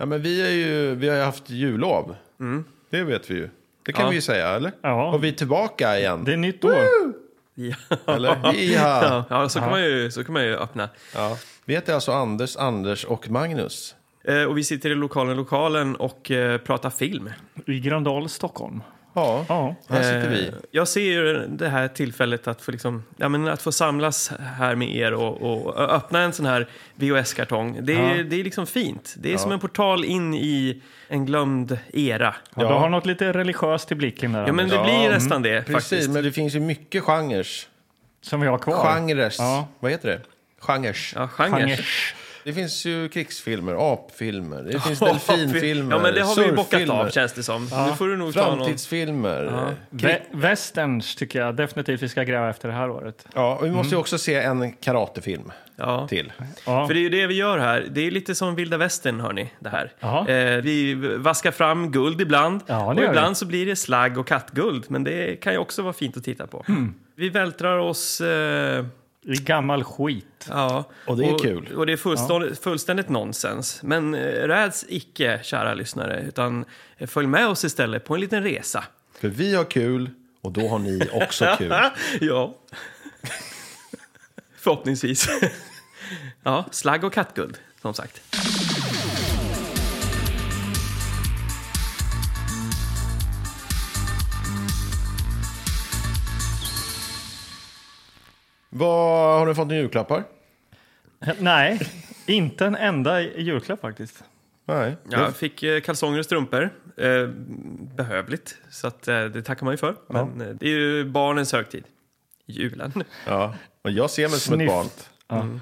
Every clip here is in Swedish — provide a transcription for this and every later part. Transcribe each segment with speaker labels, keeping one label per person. Speaker 1: Ja, men vi, är ju, vi har ju haft jullov. Det vet vi ju. Det kan
Speaker 2: Mm. Ja.
Speaker 1: vi ju säga, eller?
Speaker 3: Ja.
Speaker 1: Och vi är tillbaka igen.
Speaker 3: Det är nytt år.
Speaker 2: Ja.
Speaker 1: Eller? Jiha!
Speaker 2: Ja, ja så, kan man ju, så kan man ju öppna.
Speaker 1: Ja. Vi heter alltså Anders, Anders och Magnus.
Speaker 2: Eh, och vi sitter i lokalen, lokalen och eh, pratar film.
Speaker 3: I Gröndal, Stockholm.
Speaker 1: Ja,
Speaker 3: Ja.
Speaker 1: här sitter vi.
Speaker 2: Eh, Jag ser ju det här tillfället att få, liksom, ja, men att få samlas här med er och, och öppna en sån här VHS-kartong. Det, är-
Speaker 3: Ja.
Speaker 2: det är liksom fint. Det är som en portal in i en glömd era.
Speaker 3: Ja, Du har något lite religiöst i blicken där.
Speaker 2: Ja, men det
Speaker 1: Ja,
Speaker 2: blir
Speaker 1: mm,
Speaker 2: nästan det
Speaker 1: Precis,
Speaker 2: faktiskt.
Speaker 1: men det finns ju mycket genres.
Speaker 3: Som vi har kvar.
Speaker 1: Genres.
Speaker 3: Ja.
Speaker 1: Vad heter det? Genres.
Speaker 2: Ja, genre.
Speaker 3: Genres.
Speaker 1: Det finns ju krigsfilmer, apfilmer, det finns delfinfilmer,
Speaker 2: Ja, men det har vi ju bockat
Speaker 1: surffilmer,
Speaker 2: av känns det som. Nu får du nog ta någon.
Speaker 1: framtidsfilmer. Ja.
Speaker 3: Vä- Västerns tycker jag definitivt vi ska gräva efter det här året.
Speaker 1: och vi måste ju också se en karatefilm
Speaker 2: Mm. Ja.
Speaker 1: till.
Speaker 3: Ja.
Speaker 2: För det är ju det vi gör här. Det är lite som vilda västern, hörni, det här.
Speaker 3: Jaha.
Speaker 2: Eh, vi vaskar fram guld ibland.
Speaker 3: Ja, det
Speaker 2: och
Speaker 3: gör vi.
Speaker 2: ibland så blir det slagg och kattguld. Men det kan ju också vara fint att titta på.
Speaker 3: Hmm.
Speaker 2: Vi vältrar oss... Eh,
Speaker 3: I gammal skit.
Speaker 2: ja,
Speaker 1: Och det är kul.
Speaker 2: Och det är fullständigt, fullständigt nonsens. Men eh, räds icke, kära lyssnare. Utan eh, följ med oss istället på en liten resa.
Speaker 1: För vi har kul och då har ni också kul.
Speaker 2: ja. Förhoppningsvis. ja, slagg och kattguld, som sagt.
Speaker 1: Vad Har du fått några julklappar?
Speaker 3: Nej, inte en enda i- i julklapp faktiskt.
Speaker 1: Nej.
Speaker 2: Ja, jag fick eh, kalsonger och strumpor. Eh, behövligt, så att, eh, det tackar man ju för. Men eh, det är ju barnens högtid. Julen.
Speaker 1: Ja. Och jag ser mig som ett
Speaker 3: Snyft.
Speaker 1: barn.
Speaker 3: Ja.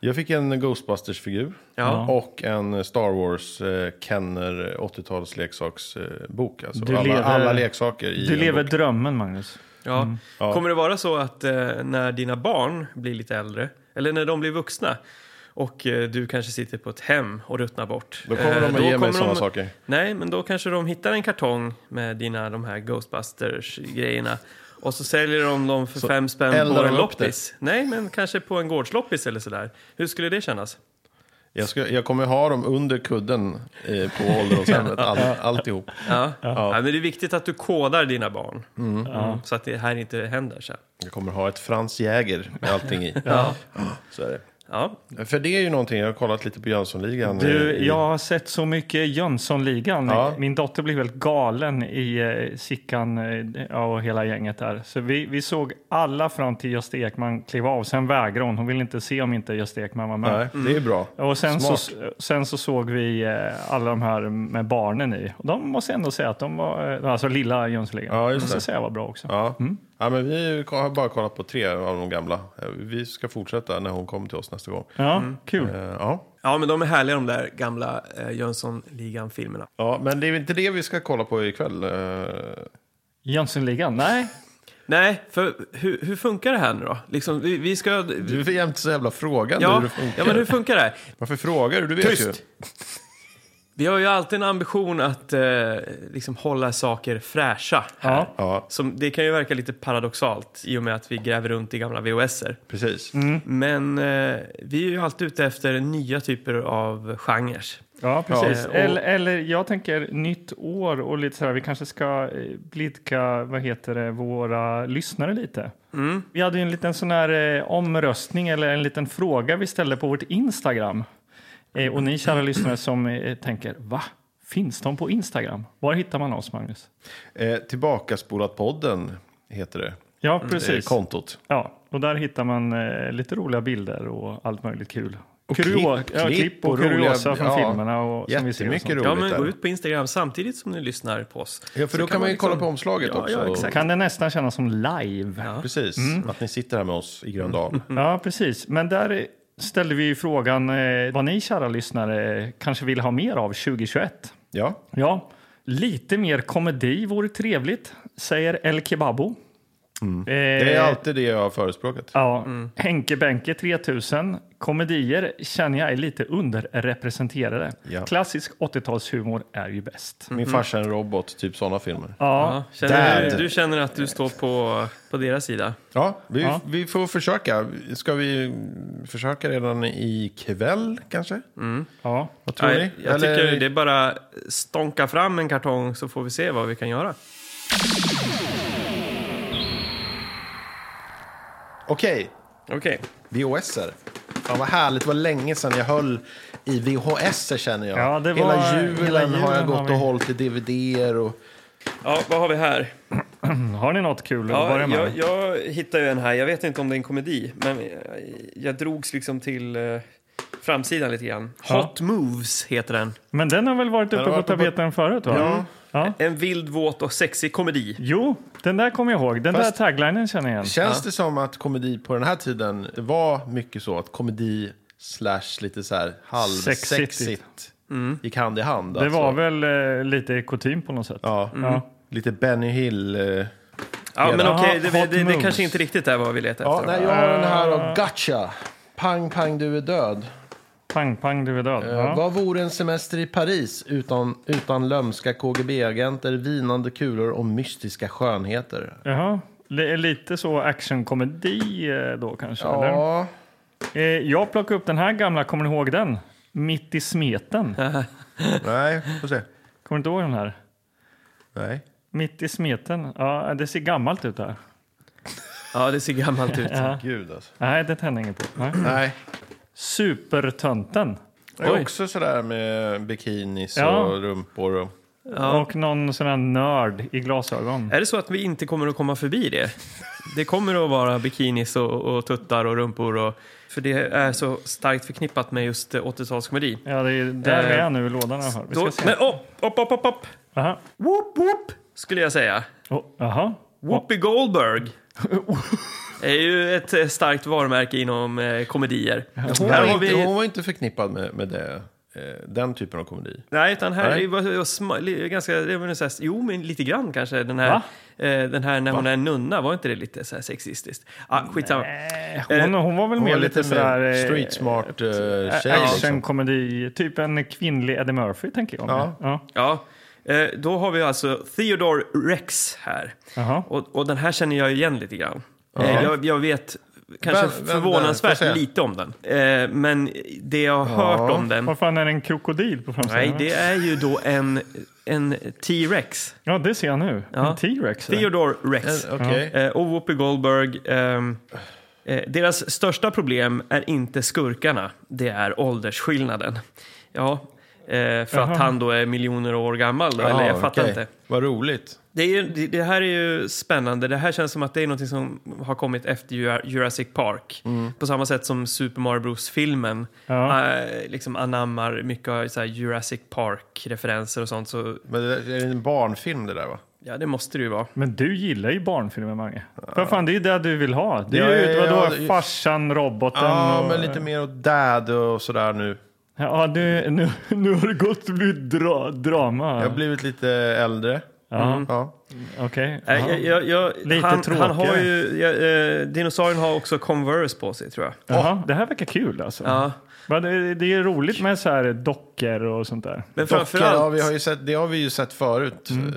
Speaker 1: Jag fick en Ghostbusters-figur
Speaker 2: Ja.
Speaker 1: och en Star Wars eh, Kenner 80-talsleksaksbok. Alltså
Speaker 3: Du
Speaker 1: alla,
Speaker 3: lever-
Speaker 1: alla leksaker i
Speaker 3: Du
Speaker 1: en
Speaker 3: lever
Speaker 1: bok.
Speaker 3: drömmen, Magnus.
Speaker 2: Ja.
Speaker 1: Mm.
Speaker 2: Kommer det vara så att eh, när dina barn blir lite äldre, eller när de blir vuxna och eh, du kanske sitter på ett hem och ruttnar bort.
Speaker 1: Då kommer
Speaker 2: eh,
Speaker 1: de att ge mig
Speaker 2: kommer
Speaker 1: sådana saker.
Speaker 2: Nej, men då kanske de hittar en kartong med dina de här Ghostbusters-grejerna. Och så säljer de dem för fem spänn
Speaker 1: eldar
Speaker 2: på
Speaker 1: de
Speaker 2: en
Speaker 1: upp det.
Speaker 2: loppis. Nej, men kanske på en gårdsloppis eller sådär. Hur skulle det kännas?
Speaker 1: Jag, ska, jag kommer ha dem under kudden eh, på ålderdomshemmet, all, alltihop.
Speaker 2: Ja. Ja. men det är viktigt att du kodar dina barn. Mm. Så att det här inte händer sen.
Speaker 1: Jag kommer ha ett Franz Jäger med allting i. Så är
Speaker 2: Ja.
Speaker 1: det. För det är ju någonting, jag har kollat lite på Jönssonligan.
Speaker 3: Du,
Speaker 1: eh, i-
Speaker 3: jag har sett så mycket Jönssonligan.
Speaker 1: Ja.
Speaker 3: Min dotter blev helt galen i eh, Sickan eh, ja, och hela gänget där. Så vi, vi såg alla fram till Gösta Ekman klev av. Sen vägrade hon. Hon ville inte se om inte Gösta Ekman var med.
Speaker 1: Nej, mm. det är ju bra.
Speaker 3: Och sen så,
Speaker 1: Smart.
Speaker 3: sen så såg vi eh, alla de här med barnen i. Och de måste ändå säga att de var, eh, alltså lilla Jönssonligan,
Speaker 1: Ja,
Speaker 3: de
Speaker 1: just
Speaker 3: måste
Speaker 1: det.
Speaker 3: säga var bra också.
Speaker 1: Ja. ja, men vi har bara kollat på tre av de gamla. Eh, Vi ska fortsätta när hon kommer till oss nästa gång.
Speaker 3: Ja, kul.
Speaker 1: Eh, Ja.
Speaker 2: ja, men de är härliga de där gamla eh, Jönssonligan-filmerna.
Speaker 1: ja, men det är väl inte det vi ska kolla på ikväll. eh.
Speaker 3: Jönssonligan, nej.
Speaker 2: Nej, för hur, hur funkar det här nu då? Liksom, vi, vi ska...
Speaker 1: Du är jämt så jävla frågande hur
Speaker 2: ja,
Speaker 1: det funkar.
Speaker 2: ja, men hur funkar det här?
Speaker 1: Varför frågar du? Du vet ju.
Speaker 2: Tyst! Vi har ju alltid en ambition att eh, liksom hålla saker fräscha. Här.
Speaker 3: Ja.
Speaker 1: Ja,
Speaker 2: Som, det kan ju verka lite paradoxalt i och med att vi gräver runt i gamla VHS-er.
Speaker 1: precis.
Speaker 3: Mm.
Speaker 2: Men eh, vi är ju alltid ute efter nya typer av genrer.
Speaker 3: Ja, precis.
Speaker 2: Ja, och-
Speaker 3: Eller, eller jag tänker nytt år och lite sådär, vi kanske ska eh, blidka, vad heter det, våra lyssnare lite.
Speaker 2: Mm.
Speaker 3: Vi hade ju en liten sån här eh, omröstning eller en liten fråga vi ställde på vårt Instagram. Eh, och ni kära lyssnare som eh, tänker, va? Finns de på Instagram? Var hittar man oss, Magnus?
Speaker 1: Eh, Tillbakaspolat-podden heter det.
Speaker 3: Ja,
Speaker 1: Eh,
Speaker 3: precis.
Speaker 1: kontot.
Speaker 3: Ja, och där hittar man eh, lite roliga bilder och allt möjligt kul. Och
Speaker 1: klipp-
Speaker 3: ja, klipp och,
Speaker 1: klipp och
Speaker 3: kuriosa
Speaker 1: roliga-
Speaker 3: från
Speaker 1: ja,
Speaker 3: filmerna. Och, som vi ser och
Speaker 1: jättemycket
Speaker 3: sånt.
Speaker 1: roligt
Speaker 2: Ja, men
Speaker 1: där.
Speaker 2: gå ut på Instagram samtidigt som ni lyssnar på oss.
Speaker 1: Ja, för
Speaker 2: Så liksom-
Speaker 1: då kan man ju kolla på omslaget
Speaker 2: ja,
Speaker 1: också.
Speaker 2: Ja, exakt. Mm.
Speaker 3: Kan det nästan kännas som live? Ja.
Speaker 1: Precis, att ni sitter här med oss i Gröndal.
Speaker 3: precis. Men där ställde vi ju frågan eh, vad ni kära lyssnare kanske vill ha mer av 2021.
Speaker 1: Ja,
Speaker 3: Ja, lite mer komedi vore trevligt, säger El Kebabo. Eh,
Speaker 1: Det
Speaker 2: Eh.
Speaker 1: är alltid det jag har förespråkat.
Speaker 3: Ja, Henke Benke 3000. Komedier känner jag är lite underrepresenterade.
Speaker 1: Ja. Mm.
Speaker 3: Klassisk 80-talshumor är ju bäst.
Speaker 2: Mm.
Speaker 1: Min farsa är en robot, typ sådana filmer.
Speaker 3: Ja,
Speaker 2: Ja, känner du,
Speaker 1: Dad.
Speaker 2: du känner att du står på, på deras sida?
Speaker 1: Ja, vi,
Speaker 3: Ja.
Speaker 1: vi får försöka. Ska vi försöka redan ikväll kanske?
Speaker 3: ja.
Speaker 1: Vad tror
Speaker 2: Nej,
Speaker 1: ni?
Speaker 2: jag
Speaker 1: Eller-
Speaker 2: tycker det är bara stånka fram en kartong så får vi se vad vi kan göra.
Speaker 1: Okej,
Speaker 2: Okej.
Speaker 1: VHS-er. Fan vad härligt, det var länge sedan jag höll i VHS-er känner jag.
Speaker 3: Ja, det var-
Speaker 1: hela, julen
Speaker 3: hela
Speaker 1: har
Speaker 3: julen
Speaker 1: jag gått
Speaker 3: har vi-
Speaker 1: och hållit i DVD-er och...
Speaker 2: Ja, vad har vi här?
Speaker 3: Har ni något kul att
Speaker 2: Ja,
Speaker 3: börja med?
Speaker 2: jag, jag hittade ju en här. Jag vet inte om det är en komedi, men jag, jag drogs liksom till eh, framsidan lite grann.
Speaker 3: Ja.
Speaker 2: Hot Moves heter den.
Speaker 3: Men den har väl varit uppe
Speaker 1: har
Speaker 3: på
Speaker 1: varit uppe på-
Speaker 3: tapeten förut? Va? Ja.
Speaker 2: En vild, våt och sexig komedi.
Speaker 3: Jo, den där kommer jag ihåg. Den
Speaker 1: Fast-
Speaker 3: där taglinen känner jag igen.
Speaker 1: Känns det som att komedi på den här tiden var mycket så att komedi slash lite så här halvsexigt
Speaker 3: Sexigt.
Speaker 1: gick hand i hand?
Speaker 3: Det
Speaker 1: alltså.
Speaker 3: var väl eh, lite kutym på något sätt.
Speaker 1: Ja,
Speaker 3: Ja.
Speaker 1: lite Benny Hill. eh.
Speaker 2: Ja, men
Speaker 1: Jaha,
Speaker 2: okej, det,
Speaker 3: Hot
Speaker 2: det, det,
Speaker 3: Moves.
Speaker 2: kanske inte riktigt är vad vi letar
Speaker 1: Ja,
Speaker 2: efter.
Speaker 1: nej, jag har den här av Gotcha. Pang, pang, du är död.
Speaker 3: Pang, pang, du är död.
Speaker 1: Eh,
Speaker 3: Ja.
Speaker 1: Vad vore en semester i Paris utan, utan lömska KGB-agenter, vinande kulor och mystiska skönheter?
Speaker 3: Jaha. Det är lite så actionkomedi eh, då kanske? Eller?
Speaker 1: Ja,
Speaker 3: Eh, Jag plockade upp den här gamla, kommer ni ihåg den? Mitt i smeten.
Speaker 1: nej, får se.
Speaker 3: Kommer du inte ihåg den här?
Speaker 1: Nej.
Speaker 3: Mitt i smeten. Ja, det ser gammalt ut där.
Speaker 2: Ja, det ser gammalt ut.
Speaker 1: Gud alltså.
Speaker 3: Nej, det tände ingen på. Nej.
Speaker 1: Nej.
Speaker 3: Supertönten.
Speaker 1: Det är
Speaker 2: Oj.
Speaker 1: också sådär med bikinis
Speaker 3: Ja.
Speaker 1: och rumpor och...
Speaker 3: Och någon sån här nörd i
Speaker 1: Eh.
Speaker 3: glasögon.
Speaker 2: Är det så att vi inte kommer att komma förbi det? Det kommer att vara bikinis och, och tuttar och rumpor. Och, för det är så starkt förknippat med just eh, 80-talskomedi.
Speaker 3: Ja, det är där
Speaker 2: Eh,
Speaker 3: vi är nu i lådan i alla fall. Vi ska
Speaker 2: Då-
Speaker 3: se.
Speaker 2: Men oh, upp, upp, upp, upp!
Speaker 3: Aha.
Speaker 2: Whoop, whoop, skulle jag säga.
Speaker 3: Oh, aha.
Speaker 2: Whoopi Goldberg. är ju ett eh, starkt varumärke inom eh, komedier.
Speaker 1: Hon,
Speaker 2: Här
Speaker 1: var
Speaker 2: har
Speaker 1: inte, hon
Speaker 2: vi...
Speaker 1: var inte förknippad med, med det, eh, den typen av komedi.
Speaker 2: Nej, utan här
Speaker 1: Nej.
Speaker 2: är ju- ju sma- li- ganska... det var nog så här- Jo, men lite grann kanske. Den här,
Speaker 3: Va?
Speaker 2: eh, den här när hon är en nunna, var inte det lite så här sexistiskt? Ah, skitsamma.
Speaker 3: Eh, Hon, hon var väl
Speaker 1: Hon
Speaker 3: mer
Speaker 1: var
Speaker 3: lite,
Speaker 1: lite
Speaker 3: sådär...
Speaker 1: mer
Speaker 3: eh,
Speaker 1: street smart eh, tjej. liksom.
Speaker 3: Actionkomedi, typ en kvinnlig Eddie Murphy tänker jag.
Speaker 1: Ja.
Speaker 3: Ja.
Speaker 2: Ja, eh, då har vi alltså Theodore Rex här.
Speaker 3: Jaha.
Speaker 2: Och, och den här känner jag igen lite grann. Eh,
Speaker 1: Ja.
Speaker 2: Jag, jag vet kanske
Speaker 1: Vem- vem där?
Speaker 2: förvånansvärt
Speaker 1: Får jag se?
Speaker 2: lite om den. Eh, men det jag har hört om den,
Speaker 3: Vad fan är det en krokodil på framsidan?
Speaker 2: nej, det är ju då en, en T-Rex.
Speaker 3: Ja, det ser jag nu.
Speaker 2: Ja.
Speaker 3: En T-Rex. eller?
Speaker 2: Theodore Rex.
Speaker 1: Eh, Okej.
Speaker 2: Eh, och Whoopi Goldberg. ehm, eh, deras största problem är inte skurkarna, det är åldersskillnaden. Ja, eh, för att han då är miljoner år gammal då, eller jag
Speaker 1: Ah,
Speaker 2: fattar
Speaker 1: okej.
Speaker 2: inte.
Speaker 1: Vad roligt.
Speaker 2: Det, är ju, det- det här är ju spännande. Det här känns som att det är något som har kommit efter Jura- Jurassic Park. På samma sätt som Super Mario Bros-filmen
Speaker 3: Mm. Ja.
Speaker 2: eh, liksom anammar mycket av så här Jurassic Park-referenser och sånt. Så
Speaker 1: Men det är en barnfilm det där va?
Speaker 2: ja, det måste det ju vara.
Speaker 3: Men du gillar ju barnfilmer, Mange. Vad fan, det är ju det du vill ha. Det
Speaker 1: Ja,
Speaker 3: är ju
Speaker 1: ja,
Speaker 3: vadå,
Speaker 1: ja, det-
Speaker 3: farsan, roboten
Speaker 1: Ja,
Speaker 3: och...
Speaker 1: men lite mer åt dad och sådär nu.
Speaker 3: Ja, nu, nu, nu har det gått och blivit dra, drama.
Speaker 1: Jag har blivit lite äldre. Mm.
Speaker 3: Ja,
Speaker 1: Ja.
Speaker 3: okej.
Speaker 2: Nej,
Speaker 3: Ja.
Speaker 2: Äh, jag, jag, jag,
Speaker 3: Lite
Speaker 2: han, han
Speaker 3: tråkigare.
Speaker 2: har ju, jag, eh, dinosaurien har också Converse på sig tror jag.
Speaker 3: Jaha, Det här verkar kul alltså.
Speaker 2: Ja.
Speaker 3: Men Det, det är roligt med så här dockor och sånt där.
Speaker 2: Men
Speaker 1: Dockor har
Speaker 2: framförallt,
Speaker 1: vi, har ju sett, det har vi ju sett förut.
Speaker 3: Mm.
Speaker 1: Eh,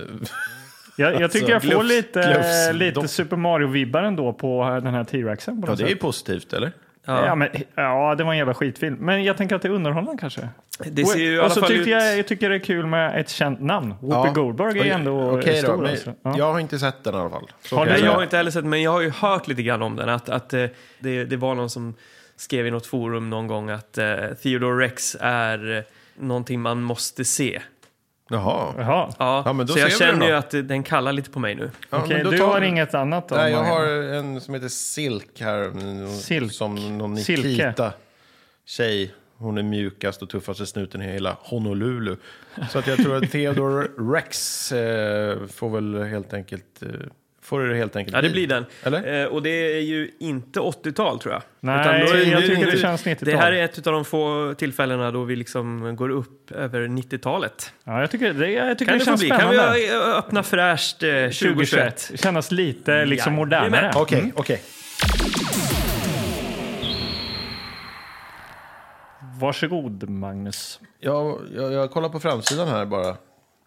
Speaker 3: Jag, jag tycker jag får
Speaker 1: glufs-
Speaker 3: lite,
Speaker 1: glufs-
Speaker 3: lite
Speaker 1: dock-
Speaker 3: Super Mario-vibbar ändå på den här T-Rexen. på
Speaker 1: Ja,
Speaker 3: något
Speaker 1: det är ju
Speaker 3: sätt.
Speaker 1: positivt, eller?
Speaker 2: ja.
Speaker 3: Ja, men, ja, det var en jävla skitfilm. Men jag tänker att det är underhållande kanske.
Speaker 2: det ser ju i alla
Speaker 3: och så
Speaker 2: fall
Speaker 3: tyckte
Speaker 2: ut...
Speaker 3: jag, jag tycker det är kul med ett känt namn. Whoopi
Speaker 1: Ja.
Speaker 3: Goldberg är ju ändå
Speaker 1: Okej då,
Speaker 3: stor.
Speaker 1: men
Speaker 3: alltså. ja.
Speaker 1: Jag har inte sett den i alla fall. Så
Speaker 3: Har
Speaker 1: kan jag
Speaker 3: du-
Speaker 2: Nej,
Speaker 1: säga.
Speaker 2: jag har inte heller sett men jag har ju hört lite grann om den. Att, att eh, det, det var någon som skrev i något forum någon gång att eh, Theodore Rex är eh, någonting man måste se.
Speaker 1: Jaha.
Speaker 3: Jaha.
Speaker 2: Ja,
Speaker 1: Ja, men då
Speaker 2: så jag
Speaker 1: ser vi den
Speaker 2: känner ju
Speaker 1: då.
Speaker 2: att eh, den kallar lite på mig nu.
Speaker 1: Ja,
Speaker 3: Okej,
Speaker 1: men då
Speaker 3: du
Speaker 1: tar
Speaker 3: har
Speaker 1: vi-
Speaker 3: inget annat då?
Speaker 1: Nej, jag
Speaker 3: Maja?
Speaker 1: har en som heter Silk här.
Speaker 3: Silk.
Speaker 1: Som någon
Speaker 3: Silke.
Speaker 1: Nikita-tjej. Hon är mjukast och tuffaste snuten i hela Honolulu. Så att jag tror att Theodore Rex eh, får väl helt enkelt eh, får det helt enkelt
Speaker 2: Ja, det blir den.
Speaker 1: Eller?
Speaker 2: Eh, och det är ju inte 80-tal tror jag.
Speaker 3: Nej,
Speaker 2: Utan då är
Speaker 3: jag
Speaker 2: det-
Speaker 3: tycker
Speaker 2: nu-
Speaker 3: det känns 90-tal.
Speaker 2: Det här är ett av de få tillfällena då vi liksom går upp över 90-talet.
Speaker 3: Ja, jag tycker det, jag tycker
Speaker 2: Kan det,
Speaker 3: det,
Speaker 2: få
Speaker 3: känns
Speaker 2: bli? Kan
Speaker 3: spännande.
Speaker 2: vi E ö- ö- öppna fräscht eh, 2021?
Speaker 3: 2021. Kännas lite liksom
Speaker 2: Mm. Ja,
Speaker 3: modernare.
Speaker 2: jajamän.
Speaker 1: Okej, okej.
Speaker 3: Varsågod, Magnus.
Speaker 1: Jag, jag, jag kollar på framsidan här bara.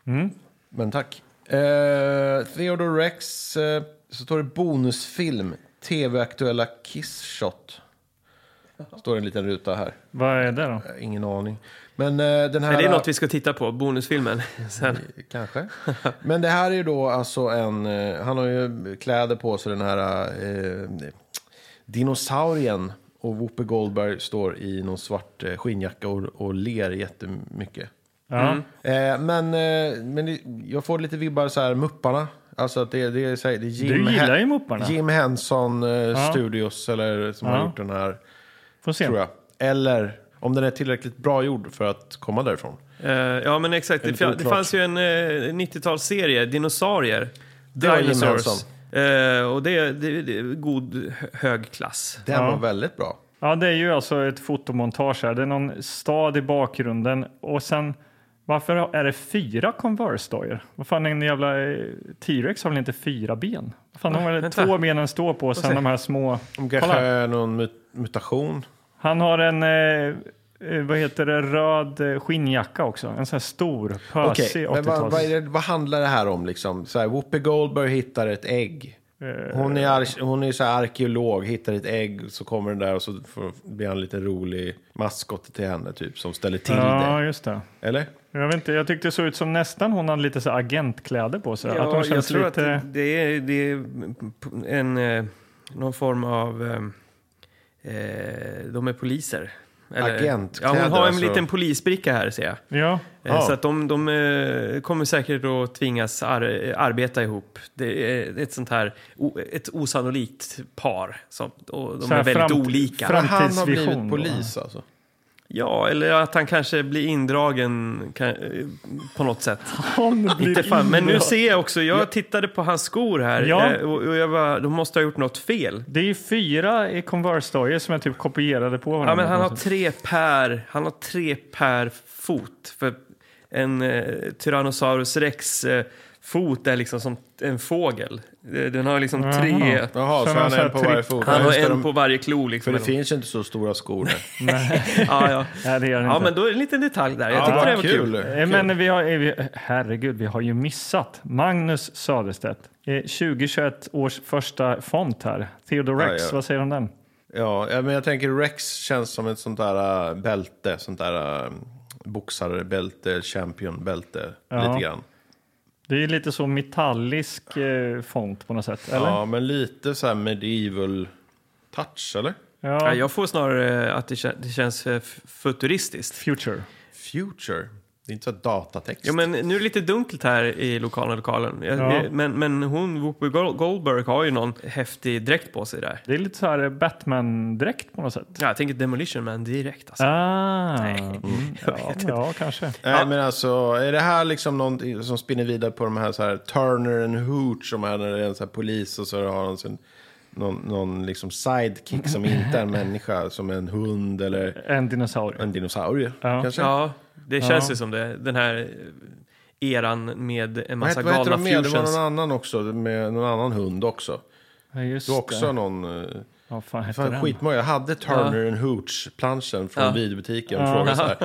Speaker 2: Mm.
Speaker 1: Men tack. Eh, Theodore Rex, eh, så står det bonusfilm. TV-aktuella Kiss-shot. Står en liten ruta här.
Speaker 3: Vad är det då?
Speaker 1: Eh, Ingen aning. Men eh, den här...
Speaker 2: Är det något vi ska titta på? Bonusfilmen? Sen.
Speaker 1: Kanske. Men det här är ju då alltså en... eh, Han har ju kläder på sig, den här eh, dinosaurien. Och Whoopi Goldberg står i någon svart eh, skinnjacka och, och ler jättemycket.
Speaker 3: Ja.
Speaker 2: Mm.
Speaker 1: Eh, men eh, men det, jag får lite vibbar så här, Mupparna. Alltså att det, det är, så här, det är Jim,
Speaker 3: Du gillar
Speaker 1: Hen-
Speaker 3: ju Mupparna.
Speaker 1: Jim Henson eh, Studios eller, som har
Speaker 3: Ja.
Speaker 1: gjort den här,
Speaker 3: Får se.
Speaker 1: tror jag. Eller om den är tillräckligt bra gjord för att komma därifrån.
Speaker 2: Eh, ja, men exakt. Det,
Speaker 1: Lite
Speaker 2: fa- det
Speaker 1: oklart.
Speaker 2: fanns ju en eh, 90-talsserie, Dinosaurier.
Speaker 1: Det var
Speaker 2: Dinosaurs.
Speaker 1: gemensamt.
Speaker 2: Eh, och det, det, det är god, hö- hög klass.
Speaker 1: Den
Speaker 3: Ja.
Speaker 1: var väldigt bra.
Speaker 3: Ja, det är ju alltså ett fotomontage här. Det är någon stad i bakgrunden och sen varför är det fyra Converse-dojor? Vad fan, en jävla eh, T-Rex har väl inte fyra ben? Vad fan, de har väl
Speaker 2: vänta.
Speaker 3: två ben den står på och sen
Speaker 2: se.
Speaker 3: de här små.
Speaker 1: Om kanske
Speaker 3: Kolla.
Speaker 1: är någon mut- mutation.
Speaker 3: Han har en, eh, eh, vad heter det, röd eh, skinnjacka också. En sån här stor,
Speaker 1: Okej,
Speaker 3: pösig
Speaker 1: men vad,
Speaker 3: 80-tals.
Speaker 1: vad, är det, vad handlar det här om liksom? Så här, Whoopi Goldberg hittar ett ägg.
Speaker 3: Eh,
Speaker 1: Hon är, ar- hon är så här arkeolog, hittar ett ägg, så kommer den där och så får, blir han lite rolig maskot till henne typ, som ställer till
Speaker 3: Ja,
Speaker 1: det.
Speaker 3: just det.
Speaker 1: Eller?
Speaker 3: Jag, vet inte, jag tyckte det såg ut som nästan hon hade lite så här agentkläder på sig. att hon
Speaker 2: jag
Speaker 3: känns
Speaker 2: tror
Speaker 3: lite...
Speaker 2: att det, det är, det är en, eh, någon form av... eh, Eh, de är poliser.
Speaker 1: Agentkläder,
Speaker 2: Ja, hon har en
Speaker 1: alltså.
Speaker 2: liten polisbricka här ser jag.
Speaker 3: Ja.
Speaker 2: Eh,
Speaker 1: Ja.
Speaker 2: Så att de, de eh, kommer säkert att tvingas ar- arbeta ihop. Det är ett sånt här o- ett osannolikt par. Som, och de
Speaker 3: Så här
Speaker 2: är väldigt
Speaker 3: framt-
Speaker 2: olika.
Speaker 3: fram-
Speaker 1: Han har blivit
Speaker 3: Framtidsvision då.
Speaker 1: polis alltså.
Speaker 2: Ja, eller att han kanske blir indragen kan, eh, på något sätt.
Speaker 3: Hon blir
Speaker 2: Inte fan. Men nu
Speaker 3: indragen.
Speaker 2: ser jag också, jag tittade på hans skor här
Speaker 3: Ja.
Speaker 2: eh, och och jag bara, de måste ha gjort något fel.
Speaker 3: Det är ju fyra i Converse-dojor som jag typ kopierade på varandra.
Speaker 2: Ja, men han har tre per, han har tre per fot. För en eh, Tyrannosaurus rex eh, fot är liksom som en fågel. Eh, Den har liksom tre.
Speaker 3: Jaha.
Speaker 1: Jaha, så,
Speaker 3: Så han
Speaker 1: han
Speaker 3: har
Speaker 1: är en på
Speaker 3: så här
Speaker 1: varje
Speaker 3: tripp-
Speaker 1: fot.
Speaker 2: Han
Speaker 1: Ja,
Speaker 2: har
Speaker 1: just det,
Speaker 2: en
Speaker 1: de-
Speaker 2: på varje klo liksom.
Speaker 1: För det finns ju inte så stora skor där.
Speaker 2: ja, ja.
Speaker 3: Nej, det gör han
Speaker 2: ja,
Speaker 3: inte.
Speaker 2: men då är det en liten detalj där. Jag
Speaker 1: Ja,
Speaker 2: tyckte
Speaker 1: vad
Speaker 2: det var kul.
Speaker 3: Eh, Men vi har, eh, vi, herregud, vi har ju missat Magnus Söderstedt. Eh, 2021 års första font här. Theodore Rex,
Speaker 1: Ja, ja.
Speaker 3: vad säger du om den?
Speaker 1: Ja, ja, men jag tänker Rex känns som ett sånt där äh, bälte, sånt där äh, boxarbälte, championbälte, lite grann.
Speaker 3: Det är ju lite så metallisk eh, font på något sätt, eller?
Speaker 1: Ja, men lite så här medieval touch, eller?
Speaker 2: Ja,
Speaker 3: Ja.
Speaker 2: jag får snarare eh, att det, kän- det känns eh, f- futuristiskt.
Speaker 3: Future.
Speaker 1: Future. Det är inte så här datatext.
Speaker 2: Ja, men nu är det lite dunkelt här i lokalen. lokalen. Jag-
Speaker 3: Ja.
Speaker 2: eh, Men, men hon, Whoopi Gol- Goldberg, har ju någon häftig dräkt på sig där.
Speaker 3: Det är lite så här eh, Batman-dräkt på något sätt.
Speaker 2: Ja, jag tänker Demolition Man direkt alltså.
Speaker 3: Ah,
Speaker 2: Nej.
Speaker 3: mm, ja, ja, kanske.
Speaker 1: Nej, men alltså, är det här liksom någonting som spinner vidare på de här, så här Turner and Hooch, som är när det är en så här polis och så har de sin, någon, någon liksom sidekick som inte är en människa, som en hund eller
Speaker 3: En dinosaurie.
Speaker 1: en dinosaurie
Speaker 3: Ja.
Speaker 1: kanske?
Speaker 2: Ja, det känns ju som det. Den här eran med en
Speaker 1: Vad
Speaker 2: massa
Speaker 1: hette, vad hette
Speaker 2: galna
Speaker 1: de mer? Det var
Speaker 2: fusions.
Speaker 1: någon annan också, med någon annan hund också.
Speaker 3: Ja, just
Speaker 1: Det var också
Speaker 3: det.
Speaker 1: någon... eh,
Speaker 3: Ja, fan heter
Speaker 1: Fan,
Speaker 3: den?
Speaker 1: skitmöjlig. Jag hade Turner and Hooch-planschen från
Speaker 2: Ja.
Speaker 1: videobutiken och frågade så här.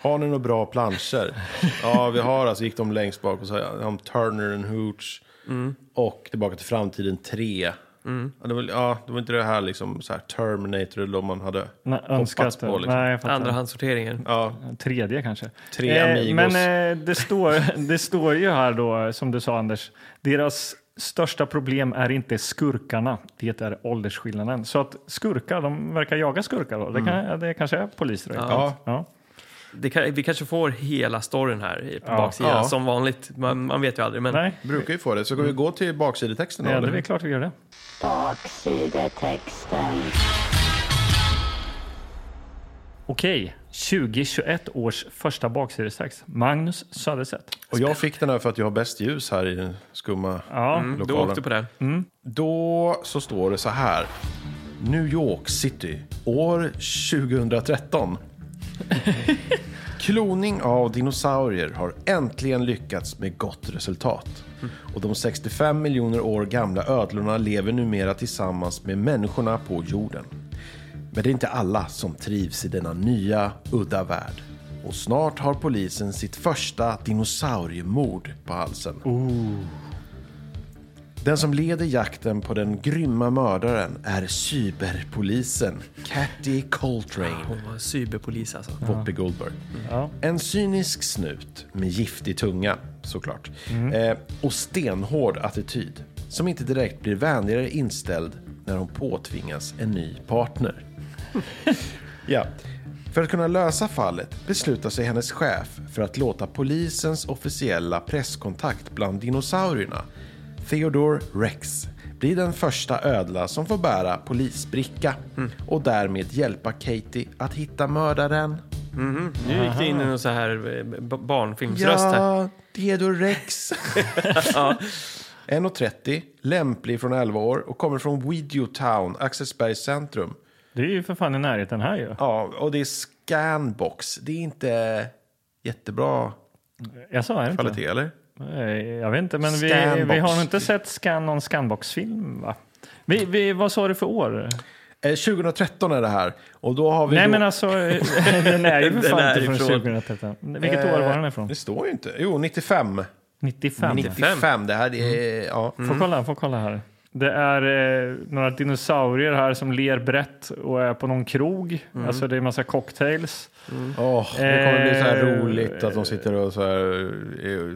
Speaker 1: Har ni några bra planscher? ja, vi har alltså. Gick de längst bak och sa om Turner and Hooch och Tillbaka till framtiden 3. Ja, det var, ja, det var inte det här liksom så här Terminator eller om man hade
Speaker 3: Nej, önskat.
Speaker 1: på,
Speaker 3: det.
Speaker 1: liksom.
Speaker 3: Nej, jag fattar.
Speaker 2: Andrahandssorteringen.
Speaker 1: ja,
Speaker 3: Tredje kanske.
Speaker 1: Tre amigos.
Speaker 3: Men eh, det, står, det står ju här då, som du sa Anders, deras största problem är inte skurkarna, det är åldersskillnaden. Så att skurkar, de verkar jaga skurkar då. Det, kan, det kanske är poliser. då.
Speaker 1: Mm. ja.
Speaker 3: Ja.
Speaker 2: Det kan, vi kanske får hela storyn här i- på
Speaker 3: Ja.
Speaker 2: baksidan
Speaker 1: Ja.
Speaker 2: som vanligt. Man, man vet ju aldrig. Men
Speaker 3: Nej,
Speaker 1: brukar ju få det. Så ska vi gå till baksidetexten då,
Speaker 3: ja, det
Speaker 1: eller?
Speaker 3: är väl klart vi gör det.
Speaker 4: Baksidetexten.
Speaker 3: Okej, 2021 års första baksidestax. Magnus Söderstedt.
Speaker 1: Och jag fick den här för att jag har bäst ljus här i den skumma
Speaker 3: Ja,
Speaker 2: Du
Speaker 1: lokalen.
Speaker 2: åkte på den.
Speaker 1: Då så står det så här. New York City, år 2013. Kloning av dinosaurier har äntligen lyckats med gott resultat. Och de 65 miljoner år gamla ödlorna lever numera tillsammans med människorna på jorden. Men det är inte alla som trivs i denna nya, udda värld. Och snart har polisen sitt första dinosauriemord på halsen. Den som leder jakten på den grymma mördaren är cyberpolisen Cathy Coltrane.
Speaker 2: Hon var en cyberpolis alltså.
Speaker 1: Whoopi Goldberg.
Speaker 3: Ja.
Speaker 1: En cynisk snut med giftig tunga, såklart.
Speaker 3: Mm.
Speaker 1: Eh, och stenhård attityd. Som inte direkt blir vänligare inställd när hon påtvingas en ny partner. ja. För att kunna lösa fallet beslutar sig hennes chef för att låta polisens officiella presskontakt bland dinosaurierna, Theodore Rex, bli den första ödla som får bära polisbricka
Speaker 3: Mm.
Speaker 1: och därmed hjälpa Katie att hitta mördaren.
Speaker 2: Nu gick det in i någon så här eh, b- barnfilmsröst här.
Speaker 1: Ja, Theodore Rex. 1,30, lämplig från 11 år och kommer från Video Town, Axelsbergs centrum.
Speaker 3: Det är ju för fan i närheten här ju.
Speaker 1: Ja, och det är scanbox. Det är inte jättebra
Speaker 3: Jag sa är det inte?
Speaker 1: kvalitet, eller?
Speaker 3: Nej, Eh, Jag vet inte, men vi,
Speaker 1: Scanbox.
Speaker 3: vi har nog inte sett scan, någon Scanbox-film va? Vi, vi, vad sa du för år?
Speaker 1: Eh, 2013 är det här. Och då har vi
Speaker 3: Nej
Speaker 1: då...
Speaker 3: men alltså, den är ju för
Speaker 2: Den
Speaker 3: fan
Speaker 2: är
Speaker 3: inte från
Speaker 2: ifrån.
Speaker 3: 2013. Vilket år var den ifrån?
Speaker 1: Det står ju inte. Jo, 95.
Speaker 3: 95.
Speaker 1: 95. Det här är... Ja.
Speaker 3: Får kolla, får kolla här. Det är eh, några dinosaurier här som ler brett och är på någon krog. Alltså det är en massa cocktails.
Speaker 1: Åh, det kommer bli så här
Speaker 3: Eh,
Speaker 1: roligt att de sitter och så här... eh,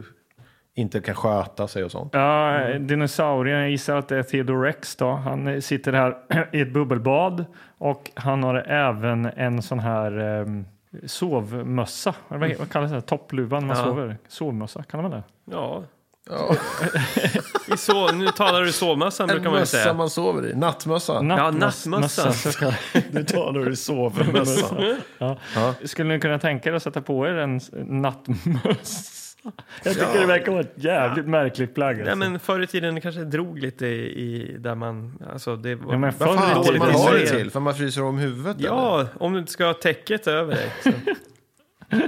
Speaker 1: Inte kan sköta sig och sånt.
Speaker 3: Ja,
Speaker 2: Mm.
Speaker 3: dinosaurien, jag gissar att det är Theodore Rex då. Han eh, sitter här i ett bubbelbad och han har även en sån här eh, sovmössa. Eller vad- Vad kallas det? Toppluvan man
Speaker 2: Ja.
Speaker 3: sover. Sovmössa, kallar man det?
Speaker 2: Ja.
Speaker 1: Ja.
Speaker 2: I så, nu talar du sovmössan brukar
Speaker 1: En
Speaker 2: man ju
Speaker 1: mössa
Speaker 2: säga.
Speaker 1: man sover i. Nattmössa.
Speaker 3: Nattmöss-
Speaker 2: nattmössa.
Speaker 3: mössa, så ska-
Speaker 1: Nu talar du sovermössa.
Speaker 3: Ja.
Speaker 1: Ja.
Speaker 3: Skulle ni kunna tänka er att sätta på er en s- nattmössa? Jag tycker det verkar vara ett jävligt märkligt plagg.
Speaker 2: Nej,
Speaker 3: Alltså.
Speaker 2: men förr i tiden kanske drog lite i där man... Alltså det var,
Speaker 3: Ja, men förr
Speaker 1: Vad fan
Speaker 3: i
Speaker 1: håller
Speaker 2: dåligt
Speaker 1: man ha det
Speaker 2: isolerat.
Speaker 1: till? För man fryser om huvudet? eller?
Speaker 2: Ja, om du inte ska ha täcket över dig. Så.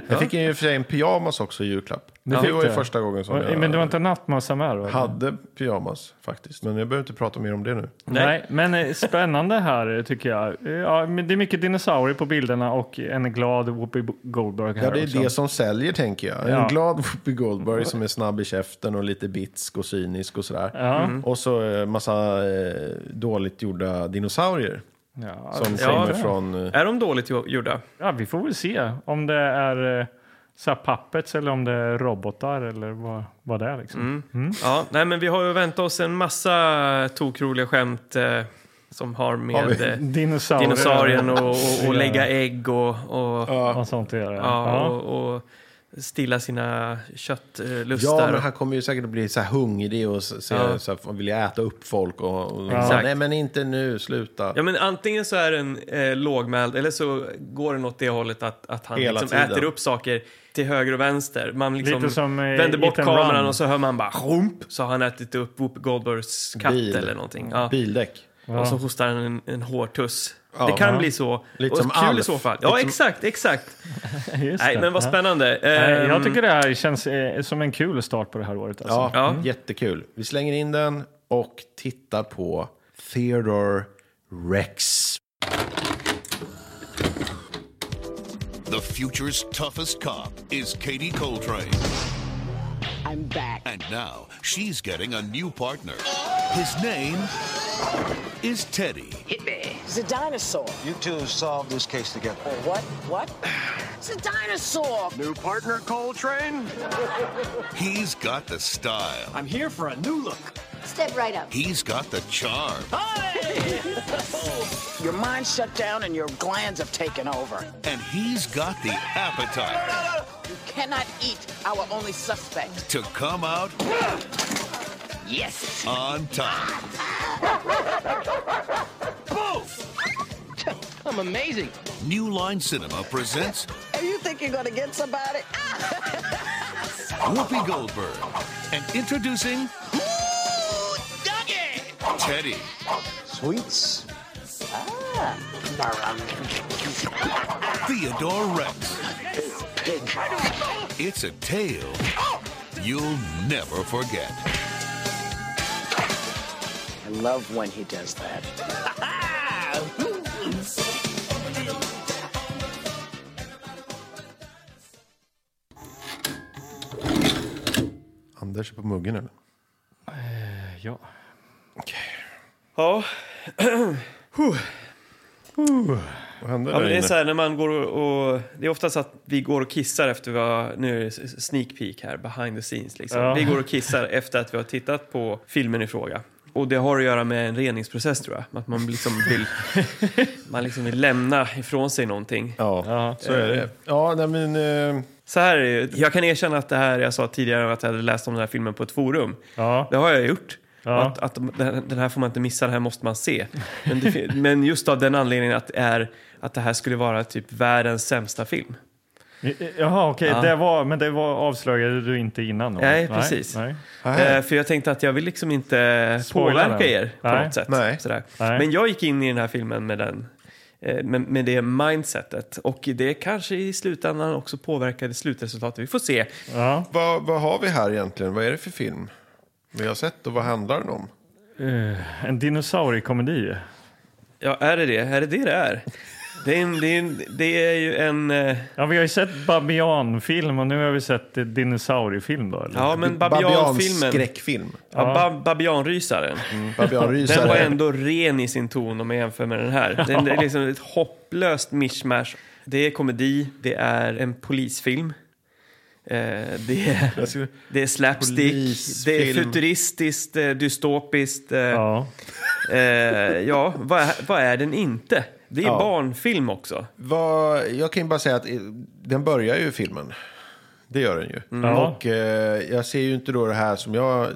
Speaker 1: Jag fick ju i och för sig en pyjamas också i julklapp. Det,
Speaker 3: fick
Speaker 1: var ju
Speaker 3: du.
Speaker 1: första gången som
Speaker 3: Och-
Speaker 1: jag
Speaker 3: Men det var inte nattmössa med? då?
Speaker 1: hade pyjamas faktiskt. Men jag behöver inte prata mer om det nu.
Speaker 2: Nej.
Speaker 3: Nej. men eh, spännande här eh, tycker jag. Eh, Ja, men det är mycket dinosaurier på bilderna och en glad Whoopi Goldberg här
Speaker 1: Ja, det är
Speaker 3: också.
Speaker 1: det som säljer tänker jag. En
Speaker 3: Ja.
Speaker 1: glad Whoopi Goldberg som är snabb i käften och lite bitsk och cynisk och sådär.
Speaker 3: Ja,
Speaker 2: Mm.
Speaker 1: Och så eh, massa eh, dåligt gjorda dinosaurier
Speaker 3: ja,
Speaker 1: som
Speaker 2: Ja.
Speaker 1: kommer från... eh,
Speaker 2: Är de dåligt jo- gjorda?
Speaker 3: ja, vi får väl se om det är eh, så här puppets eller om det är robotar eller vad, vad det är. Liksom.
Speaker 2: Mm. Ja, nej, men vi har ju väntat oss en massa tokroliga skämt eh, som har
Speaker 1: Har
Speaker 2: med
Speaker 1: vi?
Speaker 2: eh,
Speaker 3: Dinosaurier
Speaker 2: dinosaurien och, och, och lägga ägg och, och, ja.
Speaker 3: och sånt att göra.
Speaker 2: och, och stilla sina
Speaker 1: Ja,
Speaker 2: köttlustar.
Speaker 1: men han kommer ju säkert att bli så här hungrig och så, så,
Speaker 2: Ja.
Speaker 1: så här, vilja äta upp folk. Och, och
Speaker 2: Exakt.
Speaker 1: Nej, men inte nu, sluta.
Speaker 2: Ja, men antingen så är den eh, lågmäld eller så går den åt det hållet att, att han
Speaker 1: Hela
Speaker 2: liksom
Speaker 1: tiden.
Speaker 2: äter upp saker till höger och vänster. Man liksom
Speaker 3: Lite som, eh,
Speaker 2: vänder bort
Speaker 3: Eat and
Speaker 2: kameran
Speaker 3: Run.
Speaker 2: och så hör man bara "Hump", så har han ätit upp Whoopi Goldbergs katt
Speaker 1: Bil. Mm.
Speaker 2: eller någonting. Ja.
Speaker 1: Bildäck.
Speaker 2: Och så hostar han en, en hårtuss.
Speaker 1: Ja.
Speaker 2: det kan
Speaker 1: Ja.
Speaker 2: bli så.
Speaker 1: Lite
Speaker 2: och
Speaker 1: som
Speaker 2: kul i
Speaker 1: Alf.
Speaker 2: så fall.
Speaker 1: Lite
Speaker 2: Ja,
Speaker 1: som-
Speaker 2: exakt, exakt.
Speaker 3: Just
Speaker 2: Nej,
Speaker 3: det.
Speaker 2: men vad
Speaker 3: Ja.
Speaker 2: spännande.
Speaker 3: Nej,
Speaker 2: Ehm,
Speaker 3: Jag tycker det här känns eh, som en kul start på det här året. Alltså.
Speaker 1: Ja,
Speaker 2: Ja.
Speaker 1: mm. jättekul. Vi slänger in den och tittar på Theodore Rex.
Speaker 4: The future's toughest cop is Katie Coltrane.
Speaker 5: I'm back.
Speaker 4: And now she's getting a new partner. His name is Teddy.
Speaker 5: Hit me. It's a dinosaur.
Speaker 6: You two have solved this case together.
Speaker 5: What? What? It's a dinosaur.
Speaker 6: New partner, Coltrane?
Speaker 4: He's got the style.
Speaker 6: I'm here for a new look.
Speaker 7: Step right up.
Speaker 4: He's got the charm.
Speaker 5: Your mind's shut down and your glands have taken over.
Speaker 4: And he's got the appetite
Speaker 5: You cannot eat our only suspect.
Speaker 4: to come out
Speaker 5: Yes.
Speaker 4: on top.
Speaker 5: Come
Speaker 7: I'm amazing.
Speaker 4: New Line Cinema presents
Speaker 5: And you think you're gonna get somebody?
Speaker 4: Whoopi Goldberg and introducing
Speaker 7: Ooh, Dougie!
Speaker 4: Teddy.
Speaker 6: Sweets?
Speaker 4: Theodore Rex. It's a tale you'll never forget.
Speaker 5: I love when he does that.
Speaker 1: Anders är på muggen eller?
Speaker 3: Ja.
Speaker 2: Ja,
Speaker 1: Vad hände
Speaker 2: Ja,
Speaker 1: där
Speaker 2: men det är
Speaker 1: inne?
Speaker 2: så här när man går och, och... Det är oftast att vi går och kissar efter vi har... Nu är det sneak peek här, behind the scenes liksom.
Speaker 3: Ja.
Speaker 2: Vi går och kissar efter att vi har tittat på filmen i fråga. Och det har att göra med en reningsprocess tror jag. Att man liksom vill, man liksom vill lämna ifrån sig någonting.
Speaker 1: Ja,
Speaker 3: Ja.
Speaker 1: så är det. Ja, nej men... eh,
Speaker 2: Så här är det ju. Jag kan erkänna att det här jag sa tidigare att jag hade läst om den här filmen på ett forum.
Speaker 3: Ja.
Speaker 2: Det har jag gjort.
Speaker 3: Ja.
Speaker 2: Att, att de- den den här får man inte missa, den här måste man se. Men, det, fin- men just av den anledningen att, det är, att det här skulle vara typ världens sämsta film.
Speaker 3: Jaha, okej.
Speaker 2: Ja.
Speaker 3: Det var, men det var, avslöjade du inte innan? då?
Speaker 2: Nej, precis.
Speaker 3: Nej.
Speaker 1: Nej.
Speaker 2: Eh, för jag tänkte att jag vill liksom inte
Speaker 3: Spoila
Speaker 2: påverka
Speaker 3: den.
Speaker 2: er på
Speaker 3: Nej.
Speaker 2: något sätt.
Speaker 1: Nej.
Speaker 2: Sådär.
Speaker 3: Nej.
Speaker 2: Men jag gick in i den här filmen med, den, eh, med, med det mindsetet. Och det kanske i slutändan också påverkade slutresultatet. Vi får se.
Speaker 3: Ja.
Speaker 1: Vad, vad har vi här egentligen? Vad är det för film? Vi har sett och vad handlar den om?
Speaker 3: Eh, en dinosauriekomedi.
Speaker 2: Ja, är det det? Är det det det är? Det är, en, det är, en, det är ju en... eh,
Speaker 3: Ja, vi har ju sett babianfilm och nu har vi sett eh, dinosauriefilm då, eller?
Speaker 2: Ja, men
Speaker 1: Babians
Speaker 2: Babian-filmen.
Speaker 1: skräckfilm.
Speaker 2: Ja, ba, babianrysaren. Den var
Speaker 1: Babianrysare.
Speaker 2: ändå ren i sin ton om jag jämför med den här. Den, det är liksom ett hopplöst mishmash. Det är komedi, det är en polisfilm. Eh, det, är,
Speaker 1: Jag skulle-
Speaker 2: det är slapstick, det är
Speaker 1: Polisfilm.
Speaker 2: futuristiskt, eh, dystopiskt. Eh, ja,
Speaker 3: Ja.
Speaker 2: eh, ja vad, är- vad är den inte? Det är
Speaker 1: Ja.
Speaker 2: barnfilm också.
Speaker 1: Vad, jag kan ju bara säga att eh, den börjar ju filmen. Det gör den ju.
Speaker 3: Mm. Ja.
Speaker 1: Och eh, jag ser ju inte då det här som jag eh,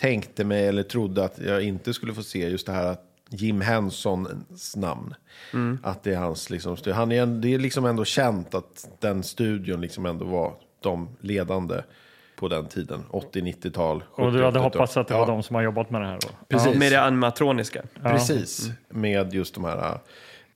Speaker 1: tänkte mig eller trodde att jag inte skulle få se. Just det här att Jim Hensons namn.
Speaker 3: Mm.
Speaker 1: Att det är hans liksom. stu- Han är, en- det är liksom ändå känt att den studion liksom ändå var de ledande på den tiden. 80-90-tal.
Speaker 3: Och du
Speaker 1: 70-80-tal.
Speaker 3: hade hoppats att det var
Speaker 1: Ja,
Speaker 3: de som har jobbat med det här då?
Speaker 1: Precis.
Speaker 2: Med det animatroniska.
Speaker 1: Precis,
Speaker 3: Mm.
Speaker 1: med just de här äh,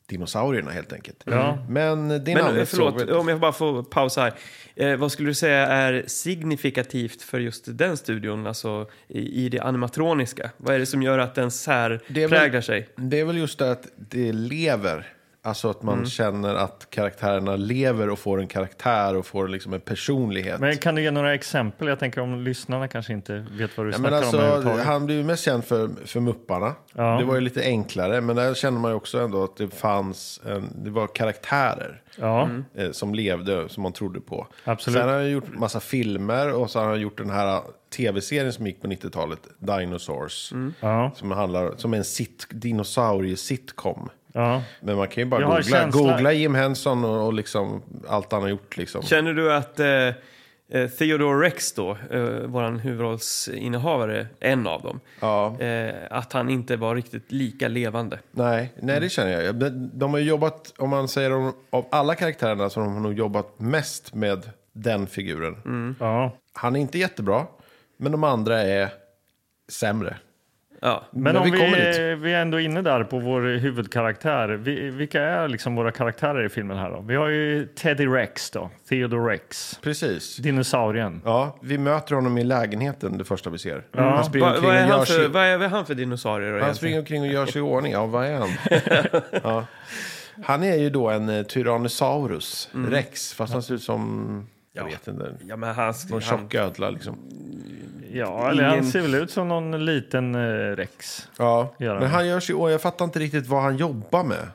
Speaker 1: dinosaurierna helt enkelt.
Speaker 3: Ja.
Speaker 1: Men din
Speaker 2: Men
Speaker 1: andra
Speaker 2: eh, förlåt,
Speaker 1: fråga-
Speaker 2: om jag bara får pausa här. Eh, vad skulle du säga är signifikativt för just den studion, alltså i, i det animatroniska? Vad är det som gör att den
Speaker 1: Det är
Speaker 2: särpräglar
Speaker 1: väl-
Speaker 2: sig?
Speaker 1: Det är väl just det att det lever. Alltså att
Speaker 3: Mm.
Speaker 1: man känner att karaktärerna lever och får en karaktär och får liksom en personlighet.
Speaker 3: Men kan du ge några exempel? Jag tänker om lyssnarna kanske inte vet vad du
Speaker 1: Ja, men
Speaker 3: snackar
Speaker 1: alltså,
Speaker 3: om överhuvudtaget.
Speaker 1: han blev ju mest känd för, för Mupparna.
Speaker 3: Ja.
Speaker 1: Det var ju lite enklare, men där kände man ju också ändå att det fanns en, det var karaktärer.
Speaker 3: Ja.
Speaker 2: Mm.
Speaker 1: eh, som levde, som man trodde på.
Speaker 3: Mm. Absolut.
Speaker 1: Sen har han gjort massa filmer och så har han gjort den här eh, tv-serien som gick på 90-talet, Dinosaurs.
Speaker 3: Mm. Ja.
Speaker 1: Som, handlar, som är en sit, dinosaurie-sitcom.
Speaker 3: Ja.
Speaker 1: Men man kan ju bara
Speaker 3: Jag har
Speaker 1: googla,
Speaker 3: känsla-
Speaker 1: googla Jim Henson och, och liksom allt han har gjort. Liksom.
Speaker 2: Känner du att eh, eh, Theodore Rex då, eh, vår huvudrollsinnehavare, en av dem,
Speaker 1: Ja.
Speaker 2: eh, att han inte var riktigt lika levande?
Speaker 1: Nej, nej, det känner jag. De, de har ju jobbat, om man säger om, av alla karaktärerna, så har de nog jobbat mest med den figuren.
Speaker 3: ja.
Speaker 1: Han är inte jättebra, men de andra är sämre.
Speaker 2: Ja.
Speaker 3: Men
Speaker 1: Men
Speaker 3: om
Speaker 1: vi kommer
Speaker 3: vi, vi är ändå inne där på vår huvudkaraktär. Vi, vilka är liksom våra karaktärer i filmen här då? Vi har ju Teddy Rex då, Theodore Rex,
Speaker 1: Precis.
Speaker 3: dinosaurien.
Speaker 1: Ja, vi möter honom i lägenheten det första vi ser. Han springer
Speaker 2: Va,
Speaker 1: omkring
Speaker 2: vad, är
Speaker 1: och gör
Speaker 2: han för,
Speaker 1: sig...
Speaker 2: vad, är, vad är han för dinosaurie då
Speaker 1: Han
Speaker 2: egentligen?
Speaker 1: springer omkring och gör sig i ordning. Ja, vad är han? ja. Han är ju då en eh, Tyrannosaurus
Speaker 3: Mm.
Speaker 1: rex, fast han ser ut som... Jag vet inte.
Speaker 2: Ja, men han,
Speaker 1: Någon
Speaker 2: han,
Speaker 1: tjock ödla liksom.
Speaker 3: Ja, eller han
Speaker 2: Ingen-
Speaker 3: ser väl ut som någon liten eh, Rex.
Speaker 1: Ja,
Speaker 3: Gör han.
Speaker 1: men han gör sig i ordning. Jag fattar inte riktigt vad han jobbar med.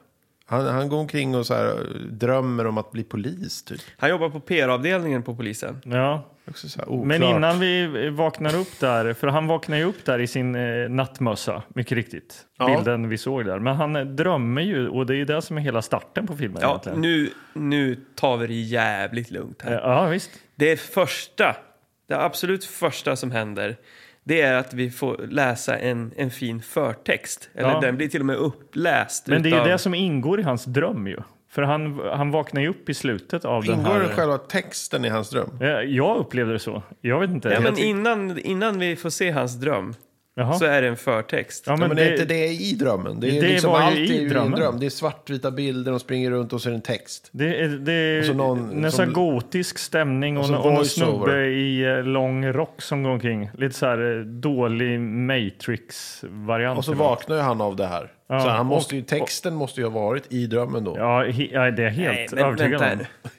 Speaker 1: Han, han går omkring och så här, eh, drömmer om att bli polis, typ.
Speaker 2: han jobbar på PR-avdelningen på polisen.
Speaker 3: Ja.
Speaker 1: Också så här, oklart.
Speaker 3: Men innan vi eh, vaknar upp där, för han vaknar ju upp där i sin eh, nattmössa, mycket riktigt.
Speaker 1: Ja.
Speaker 3: Bilden vi såg där. Men han eh, drömmer ju och det är ju det som är hela starten på filmen
Speaker 2: Ja,
Speaker 3: egentligen.
Speaker 2: nu, nu tar vi det jävligt lugnt här.
Speaker 3: Eh, Ja, visst.
Speaker 2: Det första, det absolut första som händer, det är att vi får läsa en, en fin förtext. Eller
Speaker 3: Ja.
Speaker 2: den blir till och med uppläst.
Speaker 3: Men det är
Speaker 2: utav-
Speaker 3: ju det som ingår i hans dröm ju. För han, han vaknar ju upp i slutet av den
Speaker 1: Ingår det
Speaker 3: här...
Speaker 1: själva texten i hans dröm?
Speaker 3: Eh, Jag upplevde det så. Jag vet inte.
Speaker 2: Ja, men
Speaker 3: Jag-
Speaker 2: innan, innan vi får se hans dröm
Speaker 3: Jaha.
Speaker 2: så är det en förtext.
Speaker 3: Ja,
Speaker 1: Men,
Speaker 3: men
Speaker 1: men är inte det i drömmen? Det är
Speaker 3: Det
Speaker 1: liksom
Speaker 3: var ju
Speaker 1: allt
Speaker 3: i
Speaker 1: är ju i drömmen.
Speaker 3: drömmen.
Speaker 1: dröm. Det är svartvita bilder, de springer runt och så är det en text.
Speaker 3: Det är, det är
Speaker 1: så någon
Speaker 3: nästan
Speaker 1: som-
Speaker 3: gotisk stämning och,
Speaker 1: och så
Speaker 3: och, och någon
Speaker 1: voice-over.
Speaker 3: snubbe i eh, lång rock som går omkring. Lite så här eh, dålig Matrix-variant.
Speaker 1: Och så
Speaker 3: Det var-
Speaker 1: vaknar ju han av det här.
Speaker 3: Ja,
Speaker 1: så han måste
Speaker 3: och-
Speaker 1: ju, texten måste ju ha varit i drömmen då.
Speaker 3: Ja, he, ja, det är jag helt
Speaker 2: men
Speaker 3: övertygad
Speaker 2: vänta
Speaker 3: om.
Speaker 2: här nu.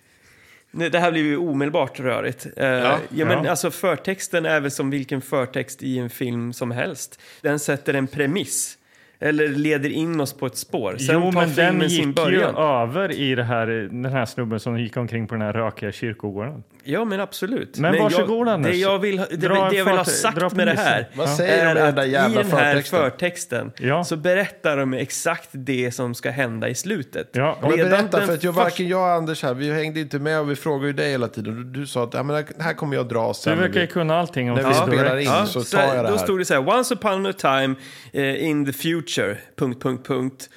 Speaker 2: Nu, det här blir ju omedelbart rörigt. Eh, ja, men
Speaker 3: ja.
Speaker 2: Alltså, förtexten är väl som vilken förtext i en film som helst. Den sätter en premiss. Eller leder in oss på ett spår. Sen
Speaker 3: Jo,
Speaker 2: tar
Speaker 3: men den
Speaker 2: filmen
Speaker 3: gick
Speaker 2: sin
Speaker 3: ju
Speaker 2: början.
Speaker 3: över i det här, eh, den här snubben som gick omkring på den här rökiga kyrkogården.
Speaker 2: Ja, men absolut.
Speaker 3: Men varsågod,
Speaker 2: jag,
Speaker 3: Anders.
Speaker 2: Det jag vill, ha- det,
Speaker 3: Dra en
Speaker 2: det jag vill ha
Speaker 3: förte-
Speaker 2: sagt
Speaker 3: dra
Speaker 2: med det här
Speaker 3: premissen.
Speaker 1: Vad
Speaker 3: Ja.
Speaker 1: säger
Speaker 2: är
Speaker 1: de i den där
Speaker 2: att i
Speaker 1: jävla
Speaker 2: den här
Speaker 1: förtexten?
Speaker 2: förtexten
Speaker 3: Ja.
Speaker 2: så berättar de exakt det som ska hända i slutet.
Speaker 3: Ja,
Speaker 1: Ja, men
Speaker 2: Redan
Speaker 1: berätta,
Speaker 2: den
Speaker 1: för att jag,
Speaker 2: första-
Speaker 1: varken jag och Anders här, vi hängde inte med och vi frågade ju dig hela tiden. Du, du sa att ja, men det här kommer jag dra
Speaker 3: Du
Speaker 1: sen.
Speaker 3: verkar ju
Speaker 1: vi,
Speaker 3: kunna allting om
Speaker 1: när vi
Speaker 3: Fist
Speaker 1: spelar
Speaker 3: Direct.
Speaker 1: in
Speaker 2: Ja,
Speaker 1: så tar jag det
Speaker 2: Då
Speaker 1: här.
Speaker 2: stod det så här, once upon a time eh, in the future, punkt, punkt, punkt.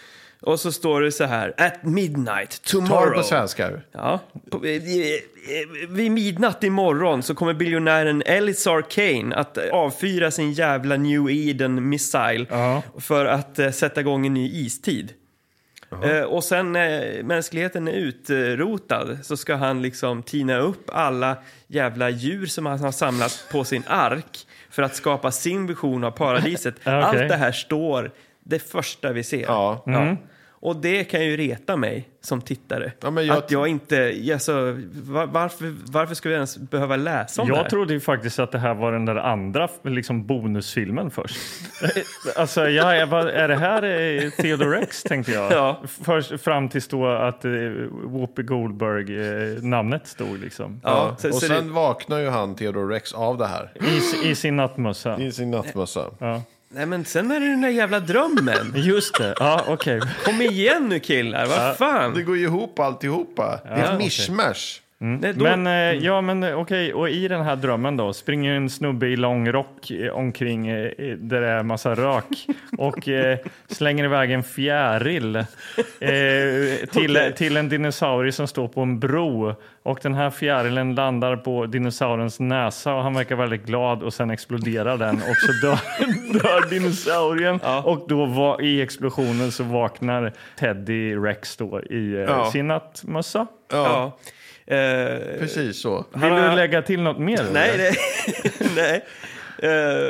Speaker 2: Och så står det så här, at midnight,
Speaker 1: Ta det
Speaker 2: tomorrow.
Speaker 1: på svenska.
Speaker 2: Ja. På- eh, eh, eh, Vid midnatt imorgon så kommer biljonären Ellis Arcane att eh, avfyra sin jävla New Eden Missile
Speaker 3: Ja.
Speaker 2: för att eh, sätta igång en ny istid. Eh, och sen när mänskligheten är utrotad så ska han liksom tina upp alla jävla djur som han har samlat på sin ark för att skapa sin vision av paradiset.
Speaker 3: Ja, okej.
Speaker 2: Allt det här står det första vi ser.
Speaker 1: Ja.
Speaker 3: Mm.
Speaker 2: Ja. Och det kan ju reta mig som tittare.
Speaker 1: Ja, men jag-
Speaker 2: Att jag inte... Alltså, va- varför, varför ska vi ens behöva läsa om det
Speaker 3: Jag
Speaker 2: här?
Speaker 3: trodde ju faktiskt att det här var den där andra liksom, bonusfilmen först. alltså, ja, jag bara, är det här eh, Theodore Rex, tänkte jag.
Speaker 2: Ja.
Speaker 3: Först, fram tills då att eh, Whoopi Goldberg-namnet stod liksom.
Speaker 2: Ja, så,
Speaker 1: Och
Speaker 2: så
Speaker 1: sen
Speaker 2: det,
Speaker 1: vaknar ju han, Theodore Rex, av det här.
Speaker 3: I, I sin nattmössa.
Speaker 1: I sin nattmössa.
Speaker 2: nej, men sen är det den där jävla drömmen.
Speaker 3: Just det. Mm. Ja, okej.
Speaker 2: Kom igen nu killar, vad
Speaker 1: Det
Speaker 2: fan?
Speaker 1: går ju ihop alltihopa. det är ett
Speaker 2: okej.
Speaker 1: mishmash.
Speaker 2: Nej, då,
Speaker 3: Men, eh, ja, men eh, okej, och i den här drömmen då springer en snubbe i lång rock eh, omkring eh, eh, där det är massa rök och eh, slänger iväg en fjäril eh, till,
Speaker 2: Okej.
Speaker 3: till en dinosaurie som står på en bro. Och den här fjärilen landar på dinosaurens näsa och han verkar väldigt glad och sen exploderar den och så dör, dör dinosaurien. Och då va, i explosionen så vaknar Teddy Rex då i eh,
Speaker 2: Ja.
Speaker 3: sin nattmössa.
Speaker 2: ja. Eh,
Speaker 1: Precis så.
Speaker 3: Vill
Speaker 2: Han har-
Speaker 3: du lägga till något mer?
Speaker 2: nej, det, nej.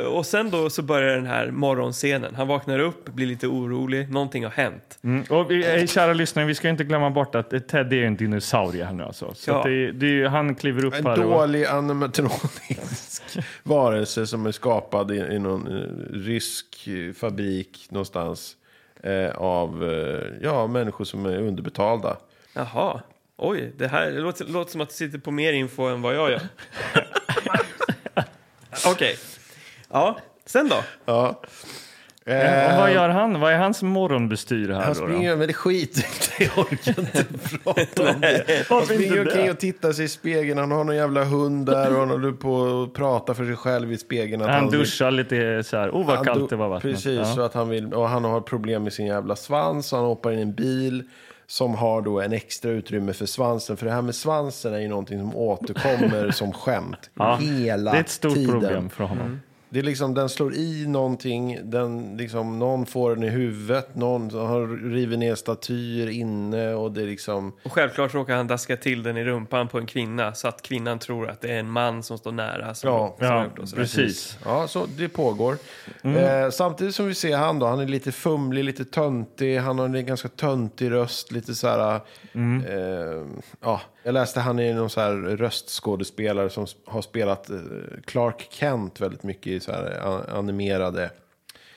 Speaker 2: Eh, och sen då så börjar den här morgonscenen. Han vaknar upp, blir lite orolig, någonting har hänt.
Speaker 3: Mm. Och vi, eh, kära lyssnare, vi ska inte glömma bort att eh, Teddy är en dinosaurie här nu alltså. Så
Speaker 2: Ja.
Speaker 3: att det, det är, ju- han kliver upp
Speaker 1: En
Speaker 3: här och...
Speaker 1: dålig animatronisk varelse som är skapad i, i någon eh, rysk eh, fabrik någonstans. Eh, av eh, ja, människor som är underbetalda.
Speaker 2: Jaha. Oj, det här det låter, låter som att du sitter på mer info än vad jag gör. Okej. Ja, sen då?
Speaker 1: Ja.
Speaker 3: Och
Speaker 1: Eh,
Speaker 3: vad gör han? Vad är hans morgonbestyr här
Speaker 1: han
Speaker 3: då?
Speaker 1: springer, men det skit. Jag orkar inte prata om det.
Speaker 3: Varför
Speaker 1: Han springer
Speaker 3: inte
Speaker 1: omkring
Speaker 3: det?
Speaker 1: och tittar sig i spegeln. Han har någon jävla hund där och han håller på och pratar för sig själv i spegeln. Att
Speaker 3: då? Han duschar lite så här, oh vad
Speaker 1: Han
Speaker 3: kallt
Speaker 1: dog-
Speaker 3: det var vattnet.
Speaker 1: Precis,
Speaker 3: Ja.
Speaker 1: så att han, vill, och han har problem med sin jävla svans. och Han hoppar in i en bil som har då en extra utrymme för svansen. För det här med svansen är ju någonting som återkommer som skämt
Speaker 3: Ja.
Speaker 1: hela
Speaker 3: Det är ett stort
Speaker 1: tiden.
Speaker 3: problem för honom.
Speaker 1: Det är liksom, den slår i någonting, den, liksom, någon får den i huvudet, någon har rivit ner statyer inne och det är liksom...
Speaker 2: Och självklart råkar han daska till den i rumpan på en kvinna så att kvinnan tror att det är en man som står nära. Som,
Speaker 1: Ja,
Speaker 2: som har
Speaker 3: Ja,
Speaker 2: gjort och sådär.
Speaker 3: precis.
Speaker 1: Ja, så det pågår.
Speaker 3: Mm.
Speaker 1: Eh, samtidigt som vi ser han då, han är lite fumlig, lite töntig, han har en ganska töntig röst, lite så här...
Speaker 3: Mm.
Speaker 1: Eh, ja, jag läste han är någon så här röstskådespelare som s- har spelat eh, Clark Kent väldigt mycket i så här an- animerade...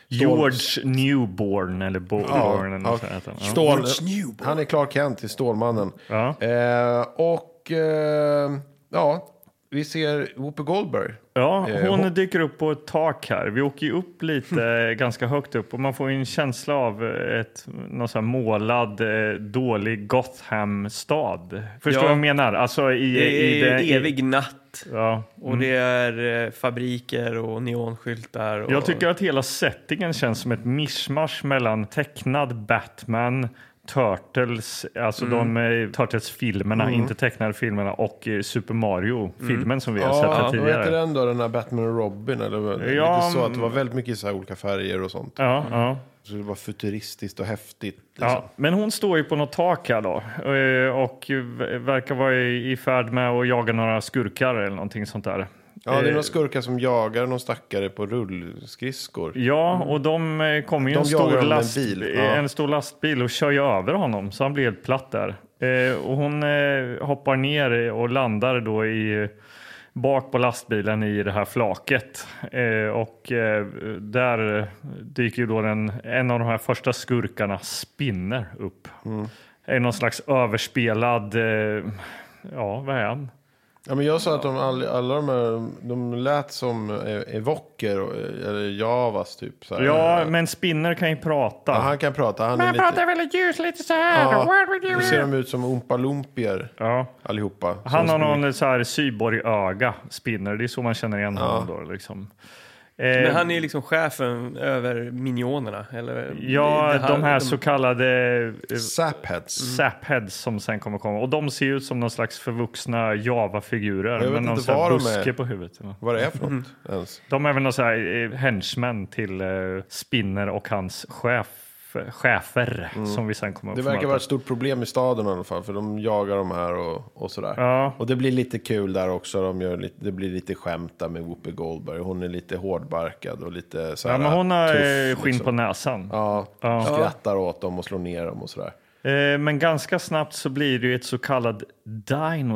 Speaker 3: George Newborn eller Bo- Born eller något
Speaker 1: ja.
Speaker 3: sånt. heter han. Ja.
Speaker 1: Stål, han är Clark Kent i Stålmannen.
Speaker 3: Ja.
Speaker 1: Eh, och eh, ja, vi ser Whoopi Goldberg.
Speaker 3: Ja,
Speaker 1: Eh,
Speaker 3: hon
Speaker 1: hon-
Speaker 3: dyker upp på ett tak här. Vi åker ju upp lite, eh, ganska högt upp och man får ju en känsla av eh, ett, någon sån här målad, eh, dålig Gotham-stad. Förstår
Speaker 2: Ja.
Speaker 3: du vad jag menar? Alltså i,
Speaker 2: Det
Speaker 3: i, Mm.
Speaker 2: är
Speaker 3: det,
Speaker 2: evig natt allt.
Speaker 3: Ja.
Speaker 2: Och det är eh, fabriker och neonskyltar. Och,
Speaker 3: Jag tycker att hela settingen känns som ett mischmasch mellan tecknad Batman, Turtles, alltså
Speaker 1: Mm.
Speaker 3: de eh, Turtles-filmerna, inte tecknade filmerna, och eh, Super Mario-filmen som vi har sett här
Speaker 1: Mm. Ja, vad heter
Speaker 3: tidigare.
Speaker 1: den då? Den här Batman och Robin? Eller vad?
Speaker 3: Ja, mm.
Speaker 1: lite så att det var väldigt mycket så här olika färger och sånt.
Speaker 3: Ja, ja.
Speaker 1: Så det var futuristiskt och häftigt. Liksom.
Speaker 3: Ja, men hon står ju på något tak här då eh, och v- verkar vara i i färd med att jaga några skurkar eller någonting sånt där.
Speaker 1: Ja, det är några skurkar som jagar någon stackare på rullskridskor.
Speaker 3: Ja, och de eh, kommer ju
Speaker 1: Mm. De jagar
Speaker 3: en, stor
Speaker 1: honom med en
Speaker 3: last,
Speaker 1: bil,
Speaker 3: eh,
Speaker 1: ja.
Speaker 3: en stor lastbil och kör ju över honom så han blir helt platt där. Eh, Och hon eh, hoppar ner och landar då i eh, bak på lastbilen i det här flaket. Eh, Och eh, där dyker ju då den, en av de här första skurkarna spinner upp.
Speaker 1: Mm.
Speaker 3: Är någon slags överspelad, eh, ja vad är han?
Speaker 1: Ja, men jag sa att de, all, alla de här, de lät som eh, evoker och- eller javas typ. Så här.
Speaker 3: Ja, men spinner kan ju prata.
Speaker 1: Ja, han kan prata. Han är lite...
Speaker 3: väldigt ljust, lite så här.
Speaker 1: Ja, då ser de ut som Oompa Loompier
Speaker 3: Ja.
Speaker 1: allihopa.
Speaker 3: Han har
Speaker 1: Som-
Speaker 3: någon så här cyborg-öga, spinner. Det är så man känner igen honom då. Liksom. Eh,
Speaker 2: Men han är ju liksom chefen över minionerna. Eller,
Speaker 3: ja,
Speaker 2: det
Speaker 3: de här så kallade eh,
Speaker 1: Sapheads.
Speaker 3: sapheads som sen kommer komma. Och de ser ut som någon slags förvuxna
Speaker 1: Jag vet
Speaker 3: Java-figurer med någon
Speaker 1: inte
Speaker 3: sån här
Speaker 1: vad de
Speaker 3: buske
Speaker 1: är.
Speaker 3: på huvudet. va?
Speaker 1: Vad det är för något
Speaker 3: Mm.
Speaker 1: ens.
Speaker 3: De är väl någon så här eh, henchmen till eh, Spinner och hans chef, chefer som vi sen kommer
Speaker 1: Mm. Det
Speaker 3: få
Speaker 1: verkar
Speaker 3: möta.
Speaker 1: vara ett stort problem i staden i alla fall. För de jagar de här och, och sådär.
Speaker 3: Ja.
Speaker 1: Och det blir lite kul där också. De gör lite, det blir lite skämt där med Whoopi Goldberg. Hon är lite hårdbarkad och lite så här
Speaker 3: Ja, men hon har eh,
Speaker 1: tuff, liksom.
Speaker 3: skinn på näsan.
Speaker 1: Ja,
Speaker 3: Ja.
Speaker 1: skrattar åt dem och slår ner dem och sådär.
Speaker 3: Eh, Men ganska snabbt så blir det ju ett så kallat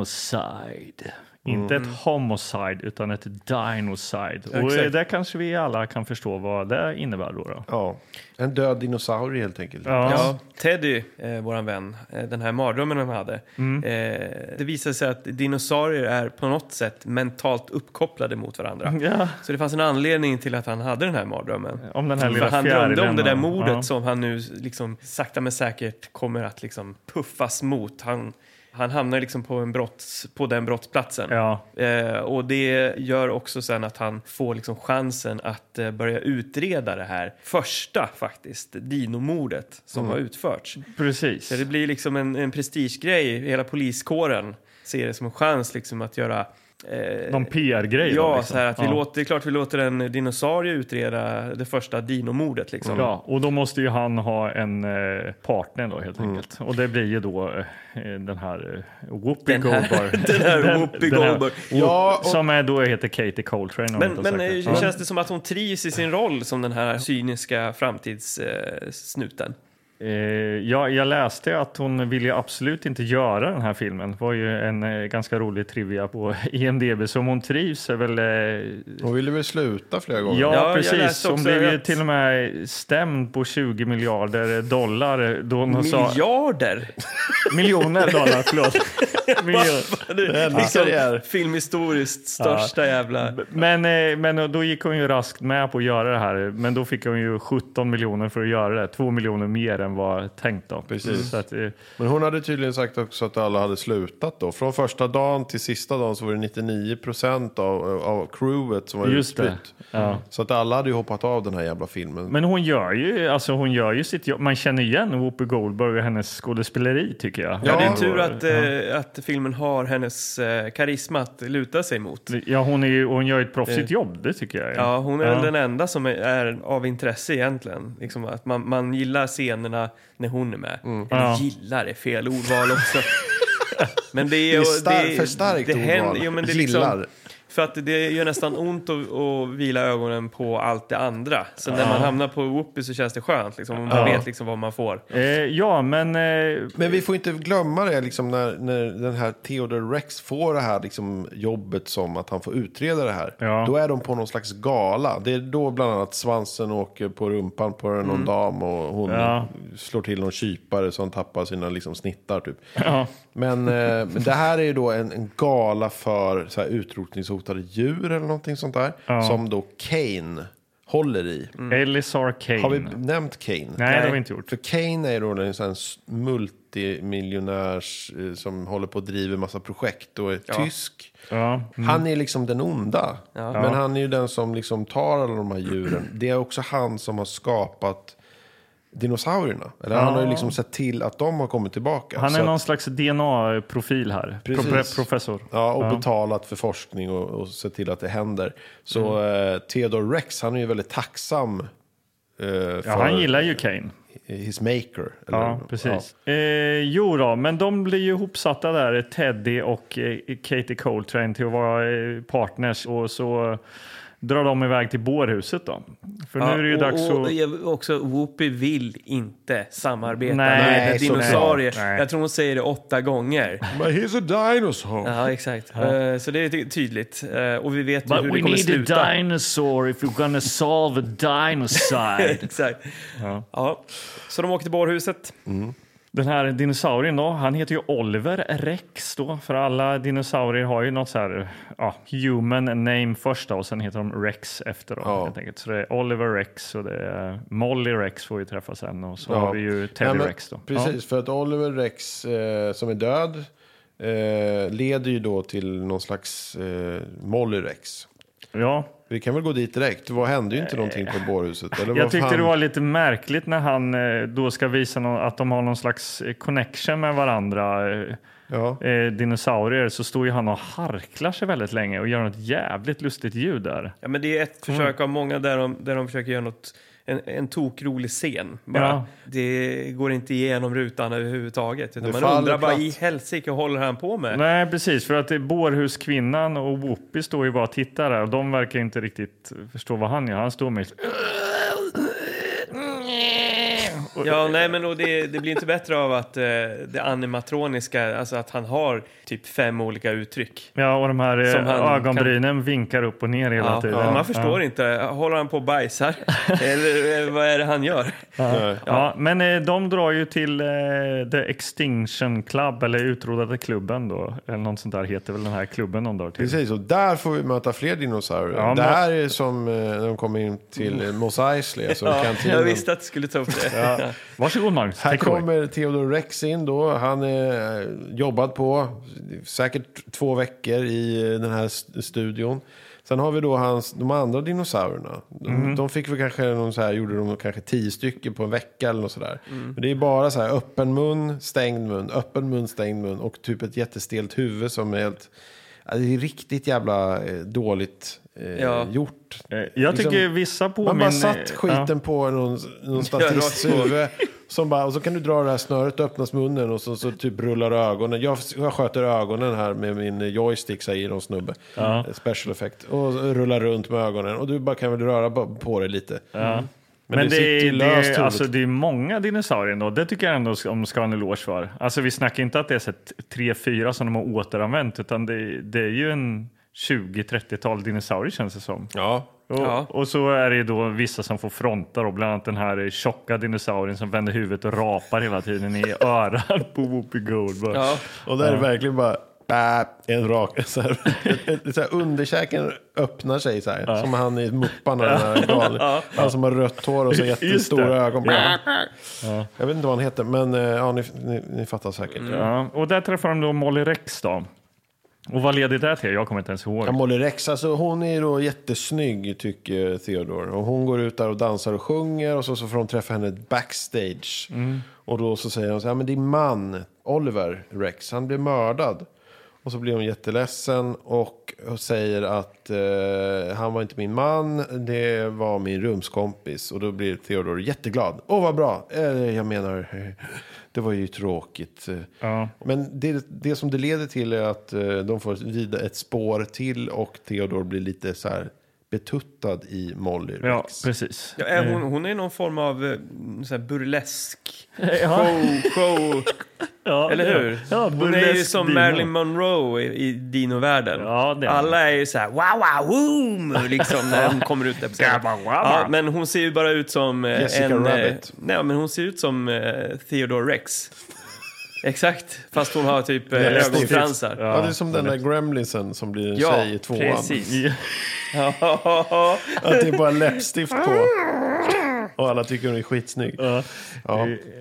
Speaker 3: dinocide. Inte ett homocide utan ett dinocide. Och eh,
Speaker 2: Mm. Exakt.
Speaker 3: där kanske vi alla kan förstå vad det innebär då. då.
Speaker 1: Ja, en död dinosaurie helt enkelt.
Speaker 3: Ja.
Speaker 2: Ja, Teddy, eh, våran vän, eh, den här mardrömmen han hade.
Speaker 3: Mm.
Speaker 2: Eh, det visade sig att dinosaurier är på något sätt mentalt uppkopplade mot varandra.
Speaker 3: Ja.
Speaker 2: Så det fanns en anledning till att han hade den här mardrömmen.
Speaker 3: Om den här
Speaker 2: För
Speaker 3: lilla
Speaker 2: han drömde om det där
Speaker 3: fjärilen,
Speaker 2: mordet
Speaker 3: ja.
Speaker 2: som han nu liksom sakta men säkert kommer att liksom puffas mot. Han, han hamnar liksom på, en brotts, på den brottsplatsen.
Speaker 3: Ja.
Speaker 2: Eh, och det gör också sen att han får liksom chansen att eh, börja utreda det här första faktiskt, dinomordet som
Speaker 3: Mm.
Speaker 2: har utförts.
Speaker 3: Precis.
Speaker 2: Så det blir liksom en, en prestigegrej, hela poliskåren ser det som en chans liksom att göra eh,
Speaker 3: Någon PR-grej. då,
Speaker 2: Ja,
Speaker 3: liksom.
Speaker 2: så här att vi
Speaker 3: ja.
Speaker 2: låter, det är klart vi låter en dinosaurie utreda det första dinomordet liksom.
Speaker 3: Ja, och då måste ju han ha en eh, partner då helt
Speaker 2: Mm.
Speaker 3: enkelt. Och det blir ju då eh, den här eh, Whoopi
Speaker 2: Den här-
Speaker 3: Goldberg.
Speaker 2: den här Whoopi
Speaker 3: den här-
Speaker 2: Goldberg.
Speaker 1: Ja, och-
Speaker 3: Som är då heter Katie Coltrane. om jag
Speaker 2: Men,
Speaker 3: inte har
Speaker 2: men
Speaker 3: sagt
Speaker 2: eh,
Speaker 3: det.
Speaker 2: känns det som att hon trivs i sin roll som den här cyniska framtidssnuten? Eh, snuten?
Speaker 3: Eh, jag, jag läste att hon ville ju absolut inte göra den här filmen. Det var ju en eh, ganska rolig trivia på IMDB. Så om hon trivs är väl... Eh,
Speaker 1: Hon ville väl sluta flera gånger?
Speaker 3: ja,
Speaker 2: jag
Speaker 3: precis.
Speaker 2: läste
Speaker 3: Hon
Speaker 2: också
Speaker 3: blev ju
Speaker 2: att-
Speaker 3: till och med stämd på 20 miljarder dollar. eh, Då hon sa,
Speaker 2: Miljarder!
Speaker 3: miljoner dollar, förlåt. Miljon-
Speaker 2: Det är liksom
Speaker 1: det är.
Speaker 2: filmhistoriskt största jävla...
Speaker 3: Men, eh, men då gick hon ju raskt med på att göra det här. Men då fick hon ju 17 miljoner för att göra det. 2 miljoner mer än vad tänkt då. Precis. Så att, eh,
Speaker 1: Men hon hade tydligen sagt också att alla hade slutat då. Från första dagen till sista dagen så var det 99 procent av, av crewet som var
Speaker 3: Just det.
Speaker 1: utbytt. Så att alla hade ju hoppat av den här jävla filmen.
Speaker 3: Men hon gör ju, alltså hon gör ju sitt jobb. Man känner igen Whoopi Goldberg och hennes skådespeleri tycker jag.
Speaker 2: Ja,
Speaker 1: Ja.
Speaker 2: det är tur att, eh, att filmen har hennes eh, karisma att luta sig mot.
Speaker 3: Ja, hon, är ju, hon gör ju ett proffsigt jobb, det tycker jag.
Speaker 2: Eh. Ja, hon är väl den enda som är, är av intresse egentligen. Liksom att man, man gillar scenerna när hon är med. Eller
Speaker 3: Ja.
Speaker 2: gillar är fel ordval också. Men det är,
Speaker 1: Det är star-
Speaker 2: är-
Speaker 1: för starkt
Speaker 2: händer-
Speaker 1: ordval.
Speaker 2: jo, men det är liksom-
Speaker 1: Gillar.
Speaker 2: för att det gör nästan ont att, att vila ögonen på allt det andra. Så när man hamnar på Whoopi så känns det skönt. Liksom, och man vet liksom vad man får.
Speaker 3: Eh, ja, men... Eh,
Speaker 1: Men vi får inte glömma det liksom när, när den här Theodore Rex får det här liksom jobbet som att han får utreda det här.
Speaker 3: Ja.
Speaker 1: Då är de på någon slags gala. Det är då bland annat svansen åker på rumpan på någon dam och hon
Speaker 3: Mm. Ja.
Speaker 1: slår till någon kypare som tappar sina liksom snittar typ.
Speaker 3: ja.
Speaker 1: Men, eh, men det här är ju då en, en gala för så här, utrotningshotade djur eller någonting sånt där. Som då Kane håller i.
Speaker 3: Eller Sarah Mm. Kane.
Speaker 1: Har vi nämnt Kane?
Speaker 3: Nej, det har
Speaker 2: Mm. Nej.
Speaker 3: vi inte gjort.
Speaker 1: För Kane är då en sån här s- multimiljonärs eh, som håller på och driver massa projekt och är tysk.
Speaker 3: Ja. Mm.
Speaker 1: Han är liksom den onda. Men han är ju den som liksom tar alla de här djuren. Det är också han som har skapat dinosaurierna. Eller han har ju liksom sett till att de har kommit tillbaka.
Speaker 3: Han
Speaker 1: Så
Speaker 3: är
Speaker 1: att-
Speaker 3: någon slags DNA-profil här. Pro-
Speaker 1: Precis.
Speaker 3: professor.
Speaker 1: Ja, och betalat för forskning och, och sett till att det händer. Så
Speaker 3: Mm.
Speaker 1: eh, Theodore Rex, han är ju väldigt tacksam eh, för
Speaker 3: Ja, han gillar ju Kane.
Speaker 1: his maker. Eller,
Speaker 3: Ja, precis. Eh, jo då, men de blir ju ihopsatta där, Teddy och eh, Katie Coltrane, till att vara eh, partners. Och så drar de iväg till bårhuset då. För nu är det ju
Speaker 2: och,
Speaker 3: dags
Speaker 2: och,
Speaker 3: att...
Speaker 2: jag- också, Whoopi vill inte samarbeta
Speaker 3: Nej,
Speaker 2: med
Speaker 1: såklart.
Speaker 2: dinosaurier.
Speaker 3: Nej.
Speaker 2: Jag tror hon säger det åtta gånger.
Speaker 1: But he's a dinosaur!
Speaker 2: Ja, exakt. Eh, så det är ty- tydligt. Eh, och vi vet ju hur det kommer sluta.
Speaker 3: dinosaur if you're gonna solve a dinosaur.
Speaker 2: Exakt. Ja. Så de åker till bårhuset.
Speaker 3: Den här dinosaurien då, han heter ju Oliver Rex då, för alla dinosaurier har ju något så här, ja, human name först då, och sen heter de Rex efter då,
Speaker 1: Ja.
Speaker 3: helt enkelt. Så det är Oliver Rex och det är Molly Rex får vi träffa sen och så
Speaker 1: Ja.
Speaker 3: har vi ju Teddy
Speaker 1: Nej, men
Speaker 3: Rex då.
Speaker 1: Precis, för att Oliver Rex eh, som är död eh, leder ju då till någon slags eh, Molly Rex.
Speaker 3: Ja. ja.
Speaker 1: Vi kan väl gå dit direkt. Vad hände ju inte någonting på bårhuset? Eller
Speaker 3: Jag
Speaker 1: vad
Speaker 3: tyckte
Speaker 1: fan-
Speaker 3: det var lite märkligt när han eh, då ska visa nå- att de har någon slags eh, connection med varandra. eh,
Speaker 1: Ja.
Speaker 3: Eh, dinosaurier så står ju han och harklar sig väldigt länge och gör något jävligt lustigt ljud där.
Speaker 2: Ja, men det är
Speaker 3: Mm.
Speaker 2: ett försök av många där de, där de försöker göra något, en, en tokrolig scen. Bara,
Speaker 3: Ja.
Speaker 2: Det går inte igenom rutan överhuvudtaget. Utan
Speaker 1: Det
Speaker 2: man
Speaker 1: faller
Speaker 2: undrar bara,
Speaker 1: platt.
Speaker 2: i helsike håller han på med?
Speaker 3: Nej, precis. För att det är Bårhuskvinnan och Whoopi står ju bara och tittar där och de verkar ju inte riktigt förstå vad han gör. Han står med...
Speaker 2: Ja, nej, men och det, det blir inte bättre av att eh, det animatroniska, alltså att han har typ fem olika uttryck.
Speaker 3: Ja, och de här eh,
Speaker 2: Som han
Speaker 3: ögonbrynen vinkar upp och ner hela
Speaker 2: Ja,
Speaker 3: tiden.
Speaker 2: men
Speaker 3: Ja.
Speaker 2: man förstår inte, håller han på och bajsar? Eller eh, vad är det han gör?
Speaker 1: Nej.
Speaker 3: Ja, men eh, de drar ju till eh, The Extinction Club, eller Utrotade klubben då. Eller något sånt där heter väl den här klubben de drar till.
Speaker 1: Precis, och där får vi möta fler dinosaurier.
Speaker 3: Ja,
Speaker 1: det
Speaker 3: men-
Speaker 1: här är som eh, när de kommer in till eh, Mos Eisley, alltså
Speaker 2: Ja,
Speaker 1: kantinen.
Speaker 2: jag visste att du skulle ta upp det.
Speaker 3: Varsågod Magnus,
Speaker 1: Här
Speaker 3: take away.
Speaker 1: kommer Theodore Rex in då. Han är eh, jobbat på säkert två veckor i eh, den här st- studion. Sen har vi då hans, de andra dinosaurierna. De,
Speaker 3: Mm.
Speaker 1: de fick väl kanske någon så här, gjorde de kanske tio stycken på en vecka eller något sådär.
Speaker 3: Mm.
Speaker 1: Men det är bara så här öppen mun, stängd mun, öppen mun, stängd mun och typ ett jättestelt huvud som är helt... Ja, det är riktigt jävla eh, dåligt eh,
Speaker 2: Ja.
Speaker 1: gjort.
Speaker 3: Eh, Jag tycker
Speaker 1: Liksom-
Speaker 3: vissa påminner...
Speaker 1: Man bara satt
Speaker 3: Ja.
Speaker 1: skiten på någon, någon statists
Speaker 2: rakt på.
Speaker 1: huvud. Som bara, och så kan du dra det här snöret, öppnas munnen och så, så typ rullar ögonen. Jag, jag sköter ögonen här med min joystick, säger någon snubbe. Eh, Special effect. Och så rullar runt med ögonen. Och du bara kan väl röra på, på dig lite. Mm. Men
Speaker 3: Men,
Speaker 1: det
Speaker 3: det,
Speaker 1: sitter ju
Speaker 3: är, det,
Speaker 1: löst
Speaker 3: är,
Speaker 1: huvudet.
Speaker 3: alltså, det är många dinosaurier ändå. Det tycker jag ändå de ska ha en eloge för. Alltså, vi snackar inte att det är så att tre, fyra som de har återanvänt utan det, det är ju en 20-30-tal dinosaurier känns det som.
Speaker 1: Ja.
Speaker 3: Och,
Speaker 2: Ja.
Speaker 3: och så är det ju då vissa som får fronta då, bland annat den här eh, tjocka dinosaurien som vänder huvudet och rapar hela tiden i örat på Whoopi Goldberg.
Speaker 2: Ja.
Speaker 1: Och där är det verkligen bara... bä, En rak, så här, ett- ett- så här, underkäken öppnar sig så här. Som han i Mupparna, den här galen. Han som har rött hår och så jättestora ögon. Jag vet inte vad han heter, men eh, ja, ni, ni, ni fattar säkert.
Speaker 3: Ja, och där träffar de då Molly Rex då. Och vad leder det till? Jag kommer inte ens ihåg.
Speaker 1: Ja, Molly Rex, alltså hon är ju då jättesnygg tycker Theodore. Och hon går ut där och dansar och sjunger och så, så får de träffa henne backstage. Och då så säger hon så här, "Ja, men din man Oliver Rex, han blev mördad. Och så blir hon jätteledsen och säger att eh, han var inte min man, det var min rumskompis. Och då blir Theodore jätteglad. Åh vad bra, eller jag menar, det var ju tråkigt.
Speaker 3: Ja.
Speaker 1: Men det, det som det leder till är att eh, de får rida ett spår till och Theodor blir lite så här betuttad i Molly
Speaker 3: Ja,
Speaker 1: Rex.
Speaker 3: precis. Eh,
Speaker 2: Ja, är hon, hon är någon form av eh, så här burlesk
Speaker 3: Ja,
Speaker 2: show, show
Speaker 3: ja,
Speaker 2: eller hur?
Speaker 3: Ja,
Speaker 2: hon är ju
Speaker 3: burlesk
Speaker 2: som
Speaker 3: dino.
Speaker 2: Marilyn Monroe i, i dinovärlden.
Speaker 3: Ja, det är hon.
Speaker 2: Alla är ju så här wow, wow, woom, liksom när hon kommer ut där på scenen.
Speaker 3: Gabba, wabba.
Speaker 2: Ja, men hon ser ju bara ut som eh,
Speaker 1: Jessica
Speaker 2: en... eh,
Speaker 1: Rabbit.
Speaker 2: Nej, men hon ser ut som eh, Theodore Rex. Exakt, fast hon har typ eh,
Speaker 1: Läppstift.
Speaker 2: ögonfransar.
Speaker 1: Ja, det är som den där gremlinsen som blir en
Speaker 2: Ja,
Speaker 1: tjej i tvåan.
Speaker 2: precis.
Speaker 1: Att det är bara läppstift på. Och alla tycker hon är skitsnygg. Ja.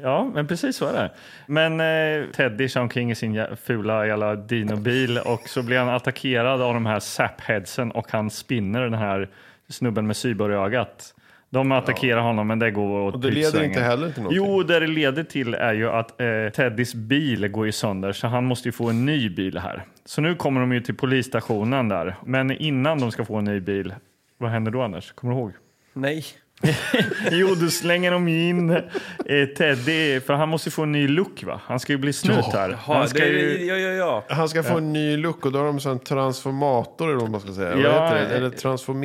Speaker 3: Ja, men precis så är det. Men eh, Teddy kör omkring i sin jä- fula jävla dinobil och så blir han attackerad av de här sapheadsen och han spinner den här snubben med syborrögat. De attackerar honom men det går åt
Speaker 1: Och det leder
Speaker 3: pipsvängen.
Speaker 1: inte heller till någonting.
Speaker 3: Jo, det det leder till är ju att eh, Teddys bil går ju sönder så han måste ju få en ny bil här. Så nu kommer de ju till polisstationen där. Men innan de ska få en ny bil, vad händer då Anders? Kommer du ihåg?
Speaker 2: Nej.
Speaker 3: Jo, då slänger de in eh, Teddy, för han måste ju få en ny look va? Han ska ju bli snut här.
Speaker 2: Ja,
Speaker 3: Han
Speaker 2: det,
Speaker 3: ska ju...
Speaker 2: ja, ja, ja.
Speaker 1: Han ska få en ny look och då har de så en transformator eller vad man ska säga.
Speaker 3: Ja,
Speaker 1: vad heter det?
Speaker 3: eh,
Speaker 1: Eller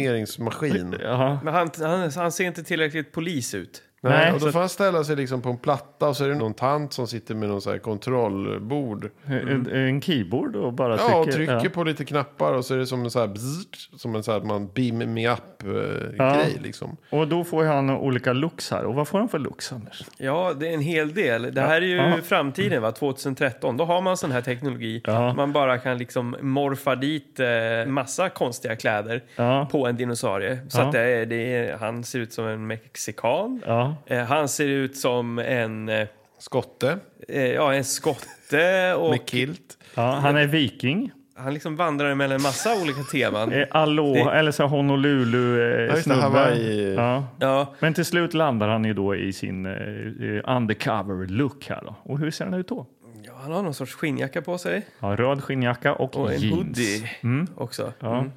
Speaker 1: transformeringsmaskin.
Speaker 3: Jaha.
Speaker 2: Men han, han, han ser inte tillräckligt polis ut.
Speaker 1: Nej,
Speaker 3: Nej,
Speaker 1: och då
Speaker 3: så-
Speaker 1: får han ställa sig liksom på en platta och så är det någon tant som sitter med någon så här kontrollbord.
Speaker 3: En, en keyboard och bara
Speaker 1: Mm. Ja, och
Speaker 3: trycker.
Speaker 1: trycker på lite knappar och så är det som en så här bzzzt, som en så här att man beam me up eh,
Speaker 3: Ja.
Speaker 1: grej liksom.
Speaker 3: Ja. och då får han olika looks här. Och vad får han för looks Anders?
Speaker 2: Ja, det är en hel del. Det här är ju
Speaker 3: Ja.
Speaker 2: framtiden, va? 2013. Då har man sån här teknologi.
Speaker 3: Ja.
Speaker 2: Man bara kan liksom morfa dit eh, massa konstiga kläder
Speaker 3: Ja.
Speaker 2: på en dinosaurie. Så
Speaker 3: Ja.
Speaker 2: att det är, det är, han ser ut som en mexikan.
Speaker 3: Ja.
Speaker 2: Eh, han ser ut som en, eh,
Speaker 1: Skotte
Speaker 2: eh, ja, en skotte och
Speaker 1: med kilt.
Speaker 3: Ja, han är viking.
Speaker 2: han liksom vandrar mellan en massa olika teman.
Speaker 3: Eh, Allo,
Speaker 2: Det-
Speaker 3: eller så här
Speaker 1: Ja, just det,
Speaker 3: Honolulu-snubbe.
Speaker 1: Hawaii.
Speaker 3: ja.
Speaker 2: Ja,
Speaker 3: Men till slut landar han ju då i sin eh, eh, undercover-look här då. Och hur ser han ut då?
Speaker 2: ja, han har någon sorts skinnjacka på sig
Speaker 3: Ja, röd skinnjacka och,
Speaker 2: och en
Speaker 3: jeans.
Speaker 2: hoodie också.
Speaker 3: Ja.
Speaker 1: Mm.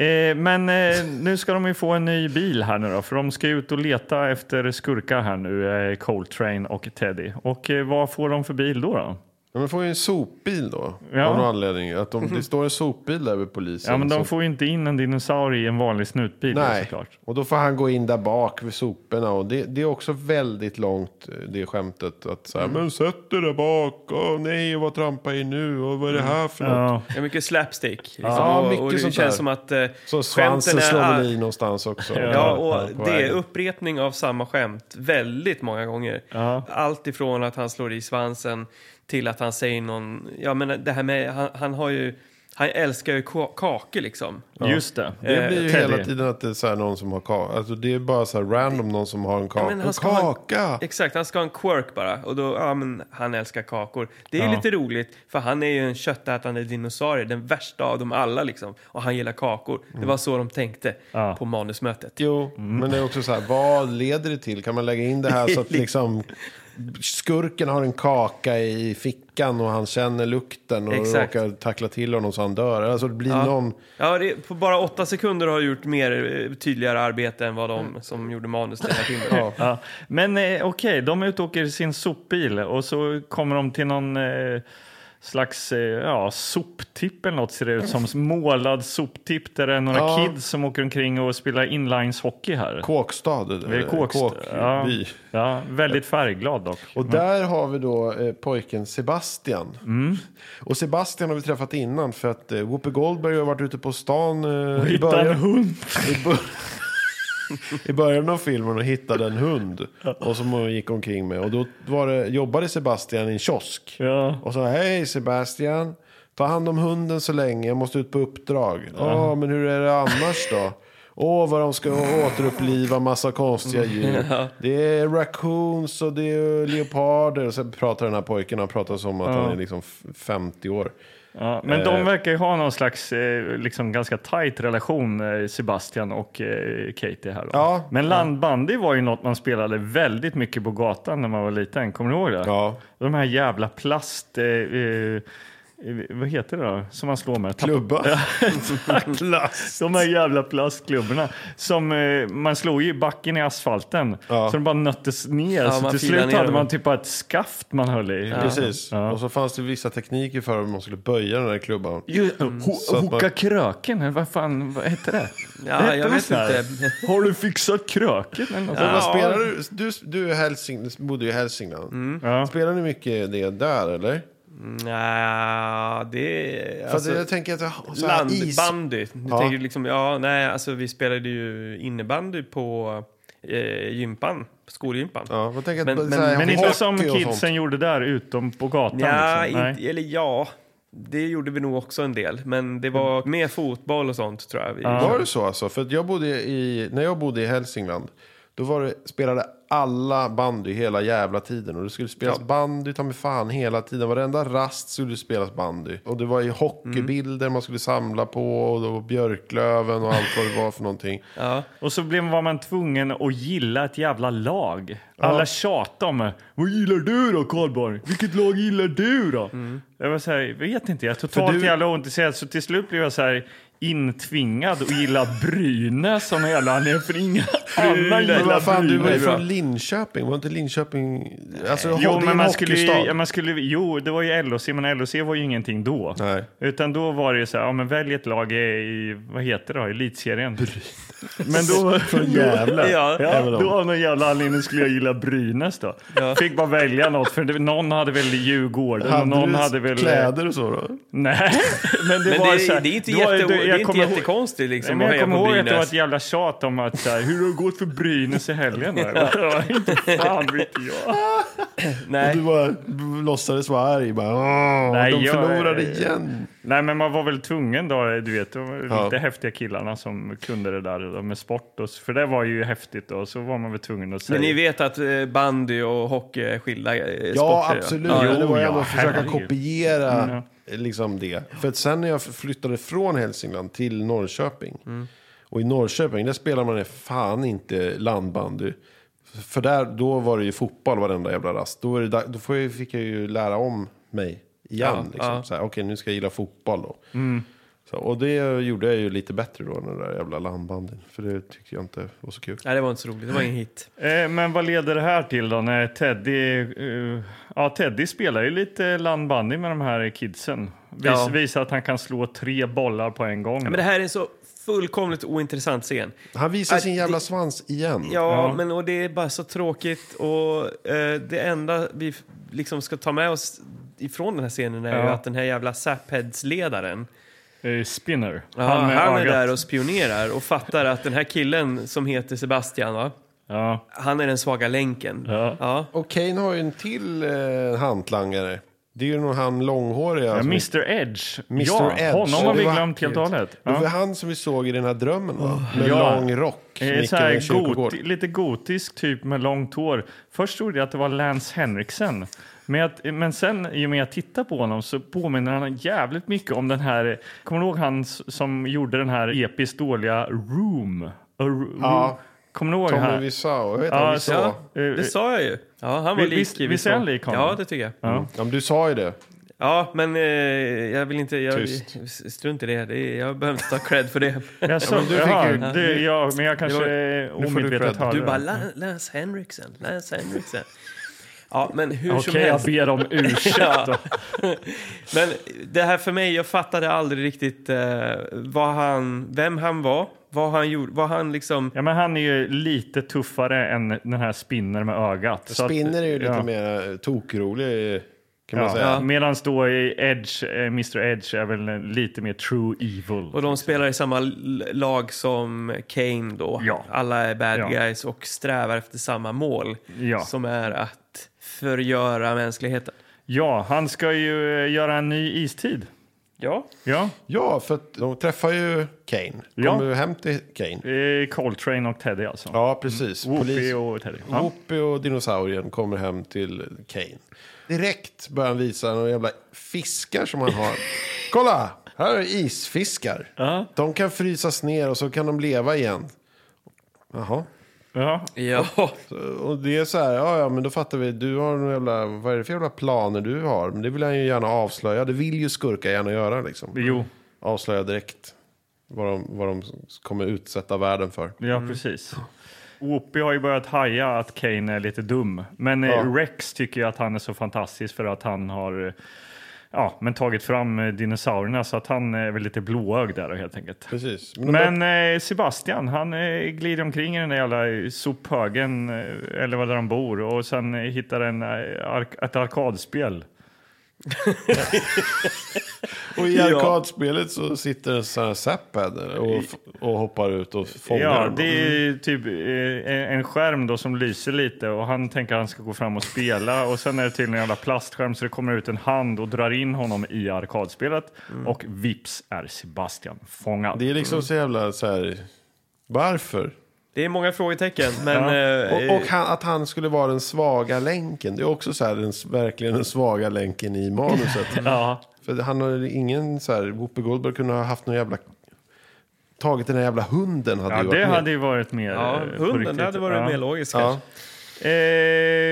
Speaker 3: Eh, men eh, nu ska de ju få en ny bil här nu då, för de ska ut och leta efter skurkar här nu, eh, Coltrane och Teddy. Och eh, vad får de för bil då? då?
Speaker 1: Ja, men får ju en sopbil då.
Speaker 3: Ja. Mhm.
Speaker 1: Av någon anledning. Att de, det står en sopbil där vid polisen.
Speaker 3: Ja, men de
Speaker 1: som-
Speaker 3: får ju inte in en dinosaurie i en vanlig snutbil då,
Speaker 1: Nej,
Speaker 3: såklart.
Speaker 1: och då får han gå in där bak vid soporna. Och det, det är också väldigt långt eh, det skämtet. Att så här,
Speaker 3: Mm.
Speaker 1: men sätt dig där bak. Åh nej, vad trampar jag i nu? Och vad är det här för något?
Speaker 3: Mm. Ja.
Speaker 2: Ja, mycket slapstick. Liksom.
Speaker 1: Ja,
Speaker 2: och, och
Speaker 1: mycket
Speaker 2: det
Speaker 1: sånt
Speaker 2: känns
Speaker 1: där.
Speaker 2: som att eh,
Speaker 1: Så svansen
Speaker 2: skämten
Speaker 1: slår
Speaker 2: är-
Speaker 1: väl i någonstans också.
Speaker 2: Ja,
Speaker 1: på
Speaker 2: och det är
Speaker 1: vägen.
Speaker 2: upprepning av samma skämt väldigt många gånger. Allt ifrån att han slår i svansen till att han säger någon... Ja, men det här med... Han, han har ju... Han älskar ju ka- kakor liksom.
Speaker 3: Just det.
Speaker 1: Det blir ju
Speaker 3: Eh, Teddy.
Speaker 1: hela tiden att det är så här någon som har kaka. Alltså det är bara så här random någon som har en
Speaker 2: Ja,
Speaker 1: kaka.
Speaker 2: men
Speaker 1: en
Speaker 2: ska ha en-
Speaker 1: kaka!
Speaker 2: exakt, han ska ha en quirk bara. Och då, ja men han älskar kakor. Det är
Speaker 3: Ja.
Speaker 2: lite roligt, för han är ju en köttätande dinosaurie. Den värsta av dem alla liksom. Och han gillar kakor. Det var så de tänkte
Speaker 3: Ja.
Speaker 2: på manusmötet.
Speaker 1: Jo,
Speaker 3: Mm.
Speaker 1: men det är också så här, vad leder det till? Kan man lägga in det här så att liksom skurken har en kaka i fickan och han känner lukten och
Speaker 2: Exakt.
Speaker 1: råkar tackla till honom så han dör. Alltså det blir någon...
Speaker 2: Ja, det, på bara åtta sekunder har gjort mer eh, tydligare arbete än vad
Speaker 1: Mm.
Speaker 2: de som gjorde manus till den här filmen. ja.
Speaker 3: Ja. Men eh, okej, de är ute och åker i sin sopbil och så kommer de till någon eh, slags eh, ja, soptipp eller något ser det ut som. Målad soptipp där det är några
Speaker 1: Ja.
Speaker 3: kids som åker omkring och spelar inlineshockey här.
Speaker 1: Kåkstad.
Speaker 3: Det är
Speaker 1: eller
Speaker 3: kåkst- ja, Mm.
Speaker 1: Kåkby.
Speaker 3: Eh, ja, väldigt färgglad dock.
Speaker 1: Och där har vi då eh, pojken Sebastian.
Speaker 3: Mm.
Speaker 1: Och Sebastian har vi träffat innan för att eh, Whoopi Goldberg har varit ute på stan eh, i
Speaker 3: Hittade en
Speaker 1: början.
Speaker 3: hund.
Speaker 1: I, bör- I början av filmen och hittade en hund. Och som hon gick omkring med. Och då var det, jobbade Sebastian i en kiosk.
Speaker 3: Ja.
Speaker 1: Och sa hej Sebastian. Ta hand om hunden så länge, jag måste ut på uppdrag. Ja, men hur är det annars då? Åh, vad de ska återuppliva massa konstiga djur. Det är raccoons och det är leoparder. Och sen pratar den här pojken, han pratar som att han är liksom f- 50 år.
Speaker 3: Ja, men de verkar ju ha någon slags eh, liksom ganska tajt relation, eh, Sebastian och eh, Katie här. Då.
Speaker 1: Ja.
Speaker 3: Men landbandy var ju något man spelade väldigt mycket på gatan när man var liten. Kommer du ihåg det?
Speaker 1: Ja.
Speaker 3: De här jävla plast... Eh, eh, vad heter det då? Som man slår med? Tapp-
Speaker 1: Klubba.
Speaker 3: Plast. De här jävla plastklubborna. Som, eh, man slog ju i backen i asfalten.
Speaker 1: Ja.
Speaker 3: Så de bara nöttes ner.
Speaker 2: Ja,
Speaker 3: så
Speaker 2: man
Speaker 3: till
Speaker 2: filade
Speaker 3: slut
Speaker 2: ner
Speaker 3: hade
Speaker 2: dem.
Speaker 3: man typ bara ett skaft man höll i.
Speaker 1: Precis.
Speaker 3: Ja.
Speaker 1: Och så fanns det vissa tekniker för hur man skulle böja den där klubban.
Speaker 3: Ho-
Speaker 1: Mm. att
Speaker 3: hoka
Speaker 1: man-
Speaker 3: kröken, eller vad fan vad hette det? Det
Speaker 2: Ja,
Speaker 3: hette
Speaker 2: jag
Speaker 3: väl
Speaker 2: vet
Speaker 3: så här,
Speaker 2: inte.
Speaker 3: Har du fixat kröken? Eller något
Speaker 1: Men
Speaker 3: sånt?
Speaker 1: vad spelar du? Du, du är Hälsing, bodde ju i Hälsingland.
Speaker 3: Ja.
Speaker 1: Spelar ni mycket det där eller?
Speaker 2: Nja, det...
Speaker 1: För
Speaker 2: Alltså,
Speaker 1: att jag tänker att så här, is,
Speaker 2: landbandy. Du
Speaker 1: Ja.
Speaker 2: tänker liksom, ja, nej, alltså vi spelade ju innebandy på eh, gympan, skolgympan.
Speaker 1: Ja, vad tänker jag
Speaker 2: Men-
Speaker 1: på-
Speaker 2: men-
Speaker 1: så här,
Speaker 3: Men inte
Speaker 1: hockey
Speaker 3: som
Speaker 1: och sånt.
Speaker 3: kidsen gjorde där, utom på gatan.
Speaker 2: Ja,
Speaker 3: liksom. Nej.
Speaker 2: inte, eller ja, det gjorde vi nog också en del. Men det var
Speaker 3: Mm.
Speaker 2: mer fotboll och sånt tror jag. Vi
Speaker 1: Var det så alltså? För att jag bodde i, när jag bodde i Hälsingland, då var det, spelade alla bandy hela jävla tiden. Och det skulle spelas bandy ta mig fan hela tiden. Varenda rast skulle det spelas bandy. Och det var ju hockeybilder man skulle samla på. Och då var Björklöven och allt vad det var för någonting.
Speaker 3: Och så blev, var man tvungen att gilla ett jävla lag. Alla tjatade om Vad gillar du då, Karlborg? Vilket lag gillar du då? Jag var så här, jag vet inte, jag är totalt
Speaker 1: Mm. du-
Speaker 3: jävla ointresserad. Så till slut blev jag så här intvingad att gilla Brynäs som jävla anledning. För inga andra
Speaker 1: Men
Speaker 3: gillar
Speaker 1: vad fan, du var ju
Speaker 3: Brynäs.
Speaker 1: från Linköping. Var inte Linköping... Alltså, det är
Speaker 3: Jo,
Speaker 1: en
Speaker 3: men man skulle, ju-
Speaker 1: hockeystad.
Speaker 3: ja, man skulle, jo, det var ju LOC, men LOC var ju ingenting då.
Speaker 1: Nej.
Speaker 3: Utan då var det ju så här, ja, men välj ett lag i, i vad heter det, då, elitserien. Men då,
Speaker 1: Från Gävle.
Speaker 2: Ja,
Speaker 3: ja,
Speaker 1: Även om-
Speaker 3: då av någon jävla anledning skulle jag gilla Brynäs då. Fick bara välja något, för det, någon hade väl Djurgården och
Speaker 1: Hade
Speaker 3: någon
Speaker 1: du
Speaker 3: hade väl...
Speaker 1: kläder och så då?
Speaker 3: Nej, men det
Speaker 2: Men
Speaker 3: var
Speaker 2: det,
Speaker 3: så här,
Speaker 2: är- det är inte,
Speaker 3: då var-
Speaker 2: jätte,
Speaker 3: då-
Speaker 2: det är inte
Speaker 3: kommer ihåg-
Speaker 2: jättekonstigt liksom,
Speaker 3: Nej,
Speaker 2: att
Speaker 3: men jag
Speaker 2: heja
Speaker 3: kommer
Speaker 2: på
Speaker 3: ihåg att det var
Speaker 2: Brynäs.
Speaker 3: ett jävla tjat om att så här, hur har det gått för Brynäs i helgen? Ja. inte fan vet jag.
Speaker 1: Du
Speaker 2: Nej.
Speaker 1: bara b- låtsades vara arg. Bara, "Åh,
Speaker 3: Nej,
Speaker 1: de
Speaker 3: jag-
Speaker 1: förlorade igen.
Speaker 3: Nej, men man var väl tvungen då, du vet, de
Speaker 1: Ja.
Speaker 3: lite häftiga killarna som kunde det där då, med sport och så, för det var ju häftigt då, så var man väl tvungen att säga.
Speaker 2: Men ni vet att eh, bandy och hockey är skilda eh, sporter?
Speaker 1: Ja, absolut.
Speaker 2: Ja, Mm,
Speaker 1: det var ju
Speaker 3: ja,
Speaker 1: ändå att försöka
Speaker 3: herregud.
Speaker 1: kopiera liksom det. För att sen när jag flyttade från Hälsingland till Norrköping.
Speaker 2: Mm.
Speaker 1: Och i Norrköping, där spelar man fan inte landbandy. För där, då var det ju fotboll varenda jävla rast. Då, är det, da- då får jag, fick jag ju lära om mig igen.
Speaker 2: Ja,
Speaker 1: liksom.
Speaker 2: ja. Mm.
Speaker 1: Så här, Okej, nu ska jag gilla fotboll då. Så, och det gjorde jag ju lite bättre då, den där jävla landbanden. För det tyckte jag inte var så kul.
Speaker 2: Nej, det var inte så roligt. Det var ingen hit.
Speaker 3: Eh, men vad leder det här till då när Teddy, eh, ja Teddy spelar ju lite landbandy med de här kidsen. Vis,
Speaker 2: Ja.
Speaker 3: Visar att han kan slå tre bollar på en gång.
Speaker 2: Ja, men det här är en så fullkomligt ointressant scen.
Speaker 1: Han visar
Speaker 2: Att
Speaker 1: sin jävla
Speaker 2: Äh, det-
Speaker 1: svans igen.
Speaker 2: Ja,
Speaker 3: Ja.
Speaker 2: men och det är bara så tråkigt och eh, det enda vi f- liksom ska ta med oss ifrån den här scenen är ju
Speaker 3: Ja.
Speaker 2: att den här jävla Sapheads-ledaren,
Speaker 3: Eh, Spinner.
Speaker 2: han,
Speaker 3: med
Speaker 2: han är
Speaker 3: ögat.
Speaker 2: där och spionerar och fattar att den här killen som heter Sebastian, va?
Speaker 3: Ja.
Speaker 2: han är den svaga länken.
Speaker 3: Ja.
Speaker 2: Ja.
Speaker 1: Och Kane har ju en till eh, hantlangare. Det är ju nog han långhåriga.
Speaker 3: Ja,
Speaker 1: som-
Speaker 3: Mr Edge.
Speaker 1: Mr.
Speaker 3: ja,
Speaker 1: Edge.
Speaker 3: honom har vi
Speaker 1: Det var-
Speaker 3: glömt helt och hållet.
Speaker 1: Det
Speaker 3: Ja. Oh,
Speaker 1: var han som vi såg i den här drömmen va? Med
Speaker 3: Ja.
Speaker 1: lång rock.
Speaker 3: Eh,
Speaker 1: Mitt
Speaker 3: Så
Speaker 1: över en
Speaker 3: här
Speaker 1: kyrkogård.
Speaker 3: goti, lite gotisk typ med långt hår. Först trodde jag att det var Lance Henriksen. Men, jag, men sen, i och med att jag tittar på honom så påminner han jävligt mycket om den här... Kommer du ihåg han s- som gjorde den här episkt dåliga Room? A Ro-
Speaker 1: Ja.
Speaker 3: Kommer du ihåg
Speaker 1: Tommy
Speaker 3: han?
Speaker 1: Wiseau. Jag vet
Speaker 3: Ja,
Speaker 1: inte, Wiseau. ja.
Speaker 2: Ja, det sa jag ju. Ja, han var
Speaker 3: Vi- visst-
Speaker 2: lik.
Speaker 3: visst är han lik honom?
Speaker 2: Ja, det tycker jag. Ja,
Speaker 1: men Du sa ju det.
Speaker 2: men eh, jag vill inte... Jag,
Speaker 1: Tyst.
Speaker 2: strunt i det. det är, jag behöver inte ta cred för det.
Speaker 3: Jaså,
Speaker 1: du fick
Speaker 3: jaha,
Speaker 1: ju-
Speaker 3: det, ja, men jag kanske
Speaker 2: var-
Speaker 3: eh,
Speaker 1: du
Speaker 3: omedvetet
Speaker 1: cred.
Speaker 3: hörde
Speaker 2: Du bara,
Speaker 3: det.
Speaker 2: "La- Lance Henriksen, Lance Henriksen. Ja, men hur
Speaker 3: Okej,
Speaker 2: som
Speaker 3: jag
Speaker 2: helst.
Speaker 3: ber om ursäkt.
Speaker 2: Ja. Men det här för mig, jag fattade aldrig riktigt eh, vad han, vem han var, vad han gjorde, vad han liksom...
Speaker 3: Ja, men han är ju lite tuffare än den här Spinner med ögat. så att-
Speaker 1: Spinner är ju lite
Speaker 3: ja.
Speaker 1: mer eh, tokrolig. eh, Kan man
Speaker 3: Ja.
Speaker 1: säga.
Speaker 3: Medan då i Edge, eh, Mr Edge är väl eh, lite mer true evil.
Speaker 2: Och de spelar i samma l- lag som Kane då.
Speaker 3: Ja.
Speaker 2: Alla är bad
Speaker 3: Ja.
Speaker 2: guys och strävar efter samma mål.
Speaker 3: Ja.
Speaker 2: Som är att förgöra mänskligheten.
Speaker 3: Ja, han ska ju eh, göra en ny istid.
Speaker 2: Ja.
Speaker 3: Ja,
Speaker 1: Ja, för att de träffar ju Kane.
Speaker 3: Ja.
Speaker 1: Kommer ju hem till Kane.
Speaker 3: eh, Coltrane och Teddy alltså.
Speaker 1: Ja, precis.
Speaker 3: Whoopi
Speaker 1: Polis-
Speaker 3: och Teddy. Ja.
Speaker 1: Whoopi och dinosaurien kommer hem till Kane. Direkt börjar han visa några jävla fiskar som han har. Kolla! Här är isfiskar.
Speaker 3: Ja.
Speaker 1: De kan frysas ner och så kan de leva igen. Jaha.
Speaker 3: Ja.
Speaker 2: Ja.
Speaker 1: Och det är så här, ja, ja men då fattar vi. Du har några jävla, vad är det för jävla planer du har? Men det vill han ju gärna avslöja. Det vill ju skurkar gärna göra liksom.
Speaker 3: Jo,
Speaker 1: Avslöja direkt vad de, vad de kommer utsätta världen för.
Speaker 3: ja
Speaker 2: Mm.
Speaker 3: precis. Whoopi har ju börjat haja att Kane är lite dum. Men eh,
Speaker 1: Ja.
Speaker 3: Rex tycker ju att han är så fantastisk för att han har eh, ja, men tagit fram eh, dinosaurierna så att han är väl lite blåögd där helt enkelt.
Speaker 1: Precis. de
Speaker 3: Men eh, Sebastian, han eh, glider omkring i den där jävla eh, sophögen, eh, eller var där han bor, och sen eh, hittar en, eh, ark- ett arkadspel.
Speaker 1: Och i
Speaker 2: Ja.
Speaker 1: arkadspelet så sitter Sarah Zappad och, f- och hoppar ut och fångar
Speaker 3: Ja,
Speaker 1: dem.
Speaker 3: det är typ eh, en- en skärm då som lyser lite och han tänker att han ska gå fram och spela och sen är det tydligen en jävla plastskärm så det kommer ut en hand och drar in honom i arkadspelet och vips är Sebastian fångad.
Speaker 1: Det är liksom så jävla så här... Varför?
Speaker 2: Det är många frågetecken, men...
Speaker 3: Ja.
Speaker 2: eh,
Speaker 1: Och, och han, att han skulle vara den svaga länken. Det är också så här, den, s- verkligen den svaga länken i manuset.
Speaker 3: Ja,
Speaker 1: För han har ingen så här... Whoopi Goldberg kunde ha haft någon jävla... Tagit den här jävla hunden hade
Speaker 3: ja
Speaker 1: ju varit
Speaker 3: det
Speaker 1: med.
Speaker 3: hade ju varit mer...
Speaker 2: ja,
Speaker 3: eh, på
Speaker 2: hunden,
Speaker 3: riktigt.
Speaker 2: det hade varit
Speaker 3: ja.
Speaker 2: mer logiskt
Speaker 1: Ja.
Speaker 2: kanske.
Speaker 3: Eh,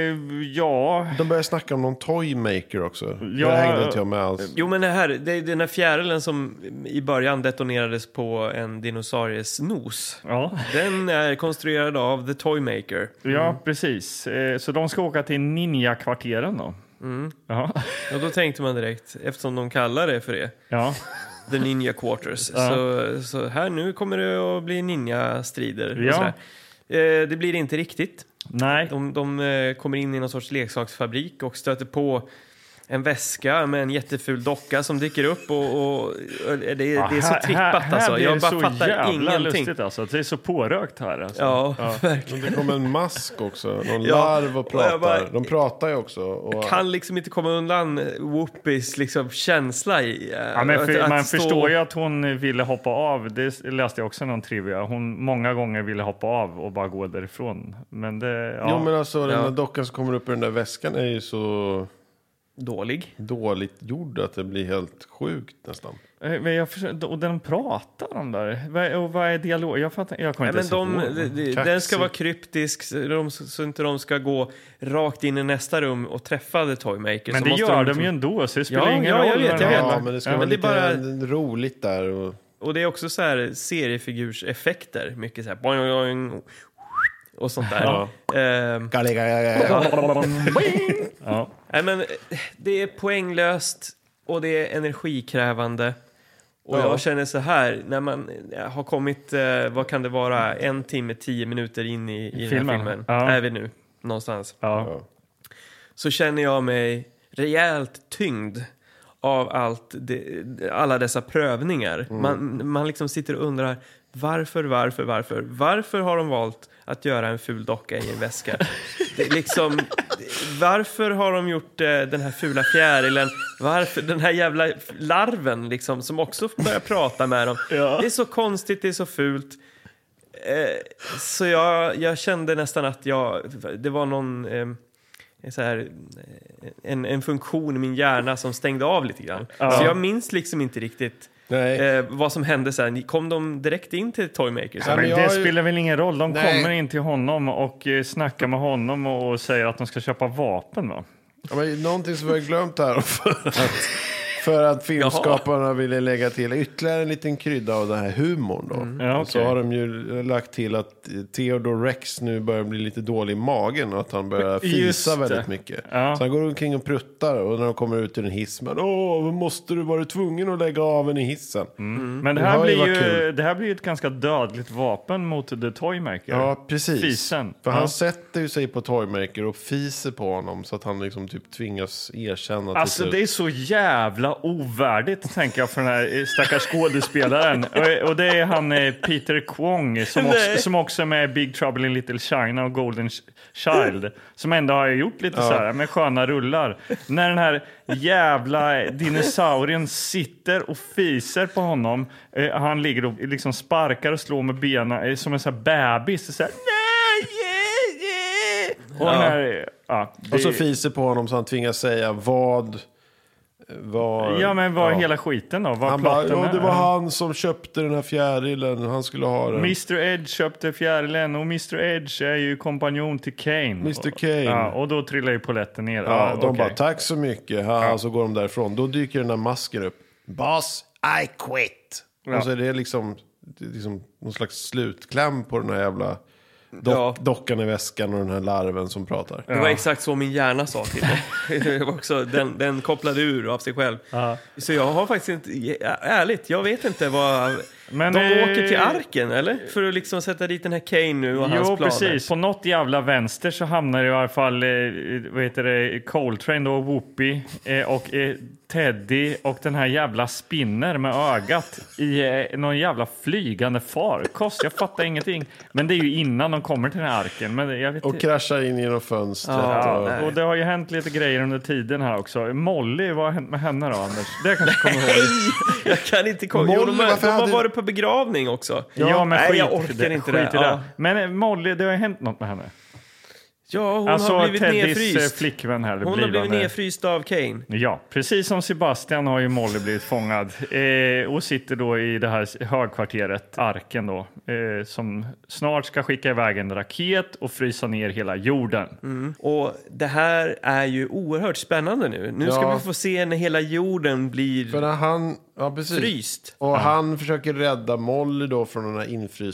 Speaker 3: ja,
Speaker 1: De börjar snacka om någon toymaker också.
Speaker 3: Ja.
Speaker 1: Det hängde inte jag med alls.
Speaker 2: Jo, men det här, det är den här fjärilen som i början detonerades på en dinosauries nos.
Speaker 3: ja.
Speaker 2: Den är konstruerad av The Toymaker.
Speaker 3: ja precis. Eh, så de ska åka till ninjakvarteren då?
Speaker 2: Mm.
Speaker 3: Ja.
Speaker 2: Och då tänkte man direkt, eftersom de kallar det för det,
Speaker 3: ja.
Speaker 2: The Ninja Quarters. Så, så här nu kommer det att bli ninja-strider. och
Speaker 3: Ja.
Speaker 2: sådär. Eh, Det blir det inte riktigt.
Speaker 3: Nej.
Speaker 2: De, de eh, kommer in i någon sorts leksaksfabrik och stöter på en väska med en jätteful docka som dyker upp och, och, och det, det är så
Speaker 3: Ah, här- här-
Speaker 2: trippat
Speaker 3: här
Speaker 2: alltså.
Speaker 3: blir
Speaker 2: Jag
Speaker 3: det
Speaker 2: bara
Speaker 3: så
Speaker 2: fattar
Speaker 3: jävla
Speaker 2: ingenting.
Speaker 3: Lustigt alltså. Det är så pårökt här. Alltså.
Speaker 2: Ja, verkligen.
Speaker 1: Det kom en mask också. Någon
Speaker 2: Ja,
Speaker 1: larv och
Speaker 2: och jag
Speaker 1: pratar.
Speaker 2: bara-
Speaker 1: De pratar ju också. Och...
Speaker 2: Kan liksom inte komma undan eh, Whoopies liksom känsla i eh,
Speaker 3: Ja, men för,
Speaker 2: att- att
Speaker 3: man
Speaker 2: stå-
Speaker 3: förstår ju att hon ville hoppa av. Det läste jag också i någon trivia. Hon många gånger ville hoppa av och bara gå därifrån. Men det... Ja.
Speaker 1: Jo men alltså den
Speaker 2: Ja.
Speaker 1: där dockan som kommer upp i den där väskan är ju så
Speaker 2: dålig.
Speaker 1: dåligt gjord att det blir helt sjukt nästan.
Speaker 3: Eh, men jag försöker, och den pratar om där. Vad- Och vad är dialog? Jag fattar jag kommer
Speaker 2: Nej, men
Speaker 3: inte
Speaker 2: de,
Speaker 3: ens ihåg.
Speaker 2: de, den ska
Speaker 1: Kaxig.
Speaker 2: vara kryptisk så de, så inte de ska gå rakt in i nästa rum och träffa The Toymaker.
Speaker 3: Men
Speaker 2: så
Speaker 3: det
Speaker 2: måste
Speaker 3: gör
Speaker 2: liksom-
Speaker 3: de ju ändå, så det spelar
Speaker 2: Ja,
Speaker 3: ingen
Speaker 2: ja,
Speaker 3: roll.
Speaker 2: jag vet,
Speaker 3: vad
Speaker 2: jag
Speaker 3: de-
Speaker 2: vet.
Speaker 1: Ja men det ska
Speaker 2: Ja,
Speaker 1: vara
Speaker 2: men det
Speaker 1: lite
Speaker 2: är
Speaker 1: roligt där. Och...
Speaker 2: Och det är också så här seriefigurseffekter. Mycket så här boing, boing, boing, och sånt där. Ehm,
Speaker 3: Ja.
Speaker 2: nej, men eh, det är poänglöst och det är energikrävande. Och
Speaker 1: Ja.
Speaker 2: jag känner så här, när man eh, har kommit, eh, vad kan det vara, en timme, tio minuter in i, i den här
Speaker 3: Filmen.
Speaker 2: filmen.
Speaker 3: Ja.
Speaker 2: Är vi nu, någonstans.
Speaker 3: Ja.
Speaker 2: så känner jag mig rejält tyngd av allt det, alla dessa prövningar. Man, man liksom sitter och undrar varför, varför, varför? Varför har de valt att göra en ful docka i en väska? Det, är liksom, varför har de gjort eh, den här fula fjärilen? Varför den här jävla larven liksom, som också börjar prata med dem? Det är så konstigt, det är så fult. Eh, så jag, jag kände nästan att jag, det var någon... ehm, så här, eh, en, en funktion i min hjärna som stängde av lite grann. Så jag minns liksom inte riktigt
Speaker 1: Nej.
Speaker 2: eh, vad som hände sen. Kom de direkt in till Toymakers?
Speaker 1: Ja,
Speaker 3: Men
Speaker 1: men jag
Speaker 3: det
Speaker 1: har ju-
Speaker 3: spelar väl ingen roll. De
Speaker 1: Nej.
Speaker 3: kommer in till honom och eh, snackar med honom och och säger att de ska köpa vapen. Va?
Speaker 1: Ja, men någonting som vi har glömt här. För att, för att filmskaparna ville lägga till ytterligare en liten krydda av den här humorn då.
Speaker 3: Mm. Ja,
Speaker 1: Och Så
Speaker 3: okej.
Speaker 1: har de ju lagt till att Theodore Rex nu börjar bli lite dålig i magen och att han börjar
Speaker 3: Just
Speaker 1: fisa
Speaker 3: det.
Speaker 1: väldigt mycket.
Speaker 3: Ja.
Speaker 1: Så han går omkring och pruttar och när de kommer ut ur en hiss. Men åh, måste du, var du tvungen att lägga av en i hissen?
Speaker 3: Men det
Speaker 1: Mm. Det
Speaker 3: här,
Speaker 1: har ju
Speaker 3: blir
Speaker 1: varit
Speaker 3: ju,
Speaker 1: kul.
Speaker 3: det här blir ju ett ganska dödligt vapen mot The Toymaker.
Speaker 1: Ja, precis.
Speaker 3: Fisen.
Speaker 1: För
Speaker 3: Ja.
Speaker 1: han sätter ju sig på Toymaker och fiser på honom så att han liksom typ tvingas erkänna till
Speaker 3: Alltså
Speaker 1: slut.
Speaker 3: det är så jävla ovärdigt tänker jag för den här eh, stackars skådespelaren. Och- Och det är han eh, Peter Kwong som också,
Speaker 2: Nej.
Speaker 3: som också är med i Big Trouble in Little China och Golden Ch- Child. Som ändå har gjort lite så här med sköna rullar. När den här jävla dinosaurien sitter och fiser på honom. eh, Han ligger och liksom sparkar och slår med benen eh, som en så här bebis. Så här, "Nej, yeah, yeah." Och, den här, eh, ja, det-
Speaker 1: Och så fiser på honom så han tvingas säga vad... vad
Speaker 3: Ja, men vad är hela skiten då? Vad
Speaker 1: Han bara,
Speaker 3: plotten
Speaker 1: ja,
Speaker 3: är?
Speaker 1: det var han som köpte den här fjärilen, han skulle ha den.
Speaker 3: Mr Edge köpte fjärilen och Mr Edge är ju kompanjon till Kane.
Speaker 1: Mr. Kane.
Speaker 3: Ja, och då trillar ju poletten ner.
Speaker 1: ja, de
Speaker 3: okej.
Speaker 1: bara, tack så mycket, ha, så går de därifrån. Då dyker den där masken upp. Boss, I quit! Och så är det liksom, det är liksom någon slags slutkläm på den här jävla dock,
Speaker 2: Ja.
Speaker 1: dockan i väskan och den här larven som pratar.
Speaker 2: Det var exakt så min hjärna sa till mig. Det var också, den, den kopplade ur av sig själv. Så jag har faktiskt inte, ä- ärligt, jag vet inte vad...
Speaker 3: Men,
Speaker 2: De
Speaker 3: eh,
Speaker 2: åker till arken, eller? För att liksom sätta dit den här Kane nu och hans
Speaker 3: Jo,
Speaker 2: planer.
Speaker 3: precis. På något jävla vänster så hamnar i alla fall eh, vad heter det, Coltrane, då, Whoopi eh, och eh, Teddy och den här jävla Spinner med ögat i eh, någon jävla flygande farkost. Jag fattar ingenting. Men det är ju innan de kommer till den här arken. Men jag vet
Speaker 1: Och kraschar in genom fönstret. och...
Speaker 3: Ja, och det har ju hänt lite grejer under tiden här också. Molly, vad har hänt med henne då, Anders? Det kanske kommer ihåg.
Speaker 2: Jag kan inte komma
Speaker 1: Molly,
Speaker 2: ihåg. De, har-
Speaker 1: varför
Speaker 2: de har
Speaker 1: hade-
Speaker 2: varit på begravning också.
Speaker 3: Ja, men
Speaker 2: Nej,
Speaker 3: skit
Speaker 2: jag
Speaker 3: i
Speaker 2: orkar
Speaker 3: det,
Speaker 2: inte
Speaker 3: skit
Speaker 2: det.
Speaker 3: i
Speaker 2: Ja.
Speaker 3: Men eh, Molly, det har ju hänt något med henne.
Speaker 2: Ja, hon
Speaker 3: alltså
Speaker 2: har blivit
Speaker 3: Teddys eh,
Speaker 2: nedfryst.
Speaker 3: flickvän här.
Speaker 2: Hon har blivit nedfryst av Kane.
Speaker 3: Ja, precis som Sebastian har ju Molly blivit fångad eh, och sitter då i det här högkvarteret, Arken då, eh, som snart ska skicka iväg en raket och frysa ner hela jorden.
Speaker 2: Mm. Och det här är ju oerhört spännande nu. Nu ska
Speaker 1: Ja.
Speaker 2: vi få se när hela jorden
Speaker 1: För
Speaker 2: blir
Speaker 1: när han... Ja, precis.
Speaker 2: fryst.
Speaker 1: Och han försöker rädda Molly då från den här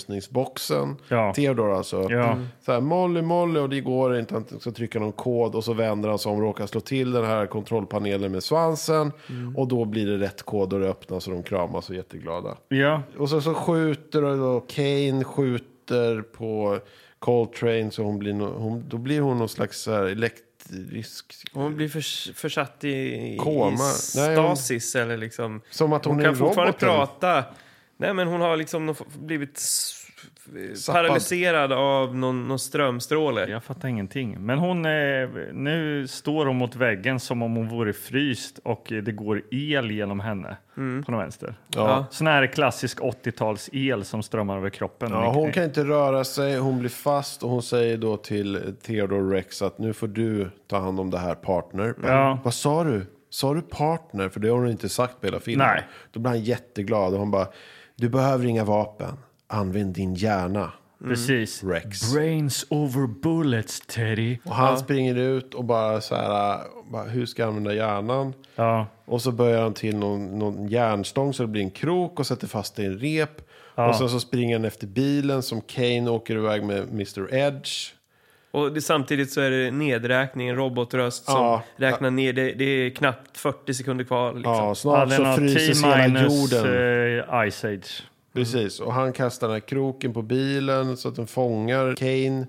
Speaker 1: infrysningsboxen.
Speaker 3: Ja.
Speaker 1: Theodor alltså.
Speaker 3: Ja. Mm.
Speaker 1: Så här, Molly, Molly och det går inte. Han ska trycka någon kod och så vänder han sig om och råkar slå till den här kontrollpanelen med svansen.
Speaker 3: Mm.
Speaker 1: Och då blir det rätt kod och det öppnas och de kramas och är jätteglada.
Speaker 3: Ja,
Speaker 1: Och så, så skjuter och då Kane skjuter på Coltrane så hon blir, no, hon, då blir hon någon slags så här elektrisk...
Speaker 2: Hon blir förs- försatt i,
Speaker 1: Koma.
Speaker 2: i
Speaker 1: Nej, hon-
Speaker 2: stasis eller liksom.
Speaker 1: Som att hon,
Speaker 2: Hon
Speaker 1: är
Speaker 2: kan fortfarande
Speaker 1: roboten.
Speaker 2: prata. Nej, men hon har liksom någon f- blivit s-
Speaker 1: Zappad.
Speaker 2: paralyserad av någon, någon strömstråle.
Speaker 3: jag fattar ingenting. Men hon, eh, nu står hon mot väggen som om hon vore fryst och eh, det går el genom henne på den vänster.
Speaker 1: Ja.
Speaker 3: Sån här klassisk 80-tals el som strömmar över kroppen.
Speaker 1: Ja, hon kan inte röra sig, hon blir fast och hon säger då till Theodore Rex att nu får du ta hand om det här partner. Bara,
Speaker 3: Ja.
Speaker 1: Vad sa du? Sa du partner? För det har hon inte sagt på hela filmen.
Speaker 3: Nej.
Speaker 1: Då blir han jätteglad och hon bara, du behöver inga vapen. Använd din hjärna,
Speaker 3: Mm. Precis.
Speaker 1: Mm. Rex.
Speaker 3: Brains over bullets, Teddy.
Speaker 1: Och han springer ut och bara så här, bara, hur ska jag använda hjärnan?
Speaker 3: Ja.
Speaker 1: Och så börjar han till någon, någon järnstång så det blir en krok och sätter fast det i en rep. Och sen så springer han efter bilen som Kane åker iväg med Mr Edge.
Speaker 2: Och det, samtidigt så är det nedräkning, en robotröst som
Speaker 1: Ja.
Speaker 2: räknar ner. Det, det är knappt 40 sekunder kvar. Liksom.
Speaker 1: Ja, snart
Speaker 3: Hade
Speaker 1: så
Speaker 3: något
Speaker 1: Alltså fryses hela
Speaker 3: T-minus,
Speaker 1: jorden.
Speaker 3: eh, Ice Age.
Speaker 1: Precis, och han kastar den här kroken på bilen så att den fångar Kane.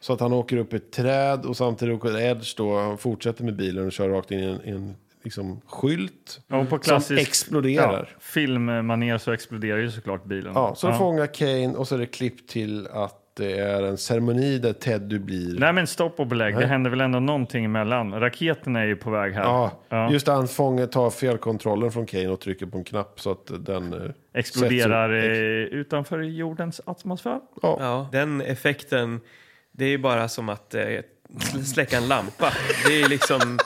Speaker 1: Så att han åker upp i ett träd och samtidigt åker Edge då, han fortsätter med bilen och kör rakt in i en, i en liksom, skylt.
Speaker 3: Ja, och på
Speaker 1: som
Speaker 3: klassisk
Speaker 1: exploderar.
Speaker 3: Ja, filmmanér så exploderar ju såklart bilen.
Speaker 1: Ja, så de fångar Kane och så är det klipp till att det är en ceremoni där Teddy blir...
Speaker 3: Nej men stopp och belägg, det händer väl ändå någonting emellan. Raketen är ju på väg här.
Speaker 1: Ja,
Speaker 3: Ja.
Speaker 1: just det, han fångar, tar felkontrollen från Kane och trycker på en knapp så att den... eh,
Speaker 3: Exploderar
Speaker 1: sätts upp.
Speaker 3: eh, utanför jordens atmosfär.
Speaker 1: Ja.
Speaker 2: Ja, den effekten, det är ju bara som att eh, släcka en lampa. Det är liksom...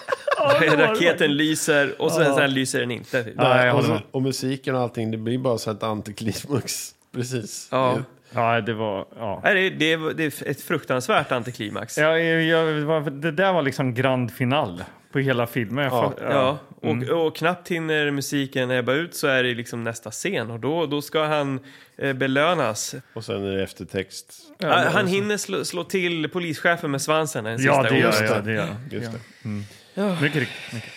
Speaker 2: Raketen lyser och sen, sen lyser den inte. typ.
Speaker 3: Ja, jag
Speaker 1: och,
Speaker 3: håller
Speaker 1: så,
Speaker 3: med.
Speaker 1: och musiken och allting, det blir bara så här ett antiklimax. Precis.
Speaker 2: Ja.
Speaker 3: Ja, det var... Ja.
Speaker 2: Nej, det, det, är- det är ett fruktansvärt antiklimax.
Speaker 3: Ja, jag, jag, var- det där var liksom grand final på hela filmen. Jag fatt-
Speaker 2: Ja, och,
Speaker 3: Mm.
Speaker 2: och knappt hinner musiken ebba ut så är det liksom nästa scen och då, då ska han eh, belönas.
Speaker 1: Och sen är det eftertext.
Speaker 2: Ah, han hinner slå, slå till polischefen med svansen den
Speaker 3: ja,
Speaker 2: sista
Speaker 3: det gör
Speaker 2: gången.
Speaker 3: jag. Det gör. jag.
Speaker 1: Just det.
Speaker 3: Mycket riktigt. mycket.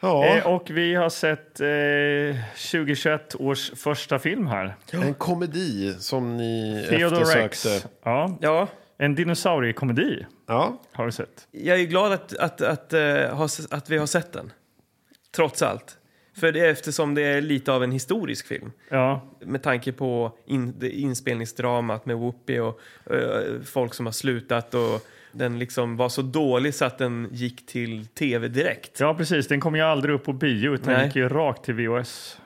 Speaker 1: Ja,
Speaker 3: Eh, och vi har sett eh, 2021 års första film här.
Speaker 1: en komedi som ni
Speaker 3: Theodore Rex.
Speaker 1: eftersökte.
Speaker 3: Ja,
Speaker 2: Ja,
Speaker 3: en dinosauriekomedi
Speaker 1: Ja,
Speaker 3: har du sett.
Speaker 2: jag är glad att, att, att, eh, ha, s- att vi har sett den. Trots allt. För det, eftersom det är lite av en historisk film.
Speaker 3: Ja,
Speaker 2: Med tanke på in, det inspelningsdramat med Whoopi och eh, folk som har slutat och den liksom var så dålig så att den gick till tv direkt.
Speaker 3: ja precis. Den kom ju aldrig upp på bio utan
Speaker 2: Nej.
Speaker 3: gick ju rakt till VHS.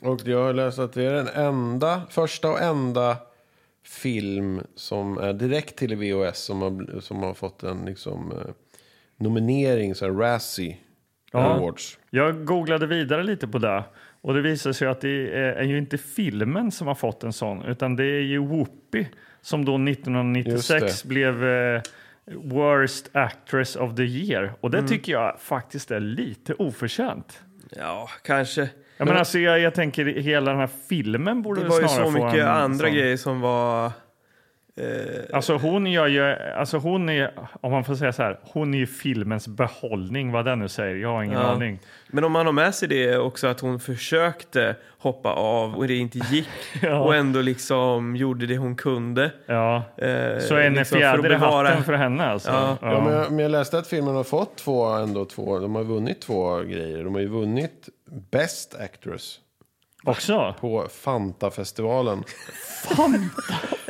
Speaker 1: och jag har läst att det är den enda, första och enda film som är direkt till VHS som har, bl- som har fått en liksom, eh, nominering, så här Razzie Awards.
Speaker 3: Jag googlade vidare lite på det och det visar sig att det är är ju inte filmen som har fått en sån utan det är ju Whoopi som då 1996
Speaker 1: Just
Speaker 3: blev eh, Worst Actress of the Year. Och
Speaker 2: Mm.
Speaker 3: det tycker jag faktiskt är lite oförtjänt.
Speaker 2: Ja, kanske.
Speaker 3: Jag, men alltså, jag, jag tänker hela den här filmen borde
Speaker 2: Det
Speaker 3: väl
Speaker 2: var ju
Speaker 3: snarare
Speaker 2: så
Speaker 3: få
Speaker 2: mycket
Speaker 3: en
Speaker 2: andra
Speaker 3: sån.
Speaker 2: grejer som var
Speaker 3: Alltså hon gör ju, alltså hon är, om man får säga så här, hon är ju filmens behållning, vad den nu säger. Jag har ingen
Speaker 2: Ja.
Speaker 3: aning.
Speaker 2: Men om man har med sig det också att hon försökte hoppa av och det inte gick
Speaker 3: Ja.
Speaker 2: och ändå liksom gjorde det hon kunde.
Speaker 3: Ja.
Speaker 2: Eh,
Speaker 3: Så
Speaker 2: liksom
Speaker 3: en
Speaker 2: för att
Speaker 3: fjäder i
Speaker 2: bevara-
Speaker 3: hatten för henne alltså.
Speaker 2: Ja.
Speaker 3: Ja.
Speaker 1: Ja, men, jag, men jag läste att filmen har fått två, ändå två, de har vunnit två grejer. De har ju vunnit Best Actress
Speaker 3: Också?
Speaker 1: på Fanta-festivalen.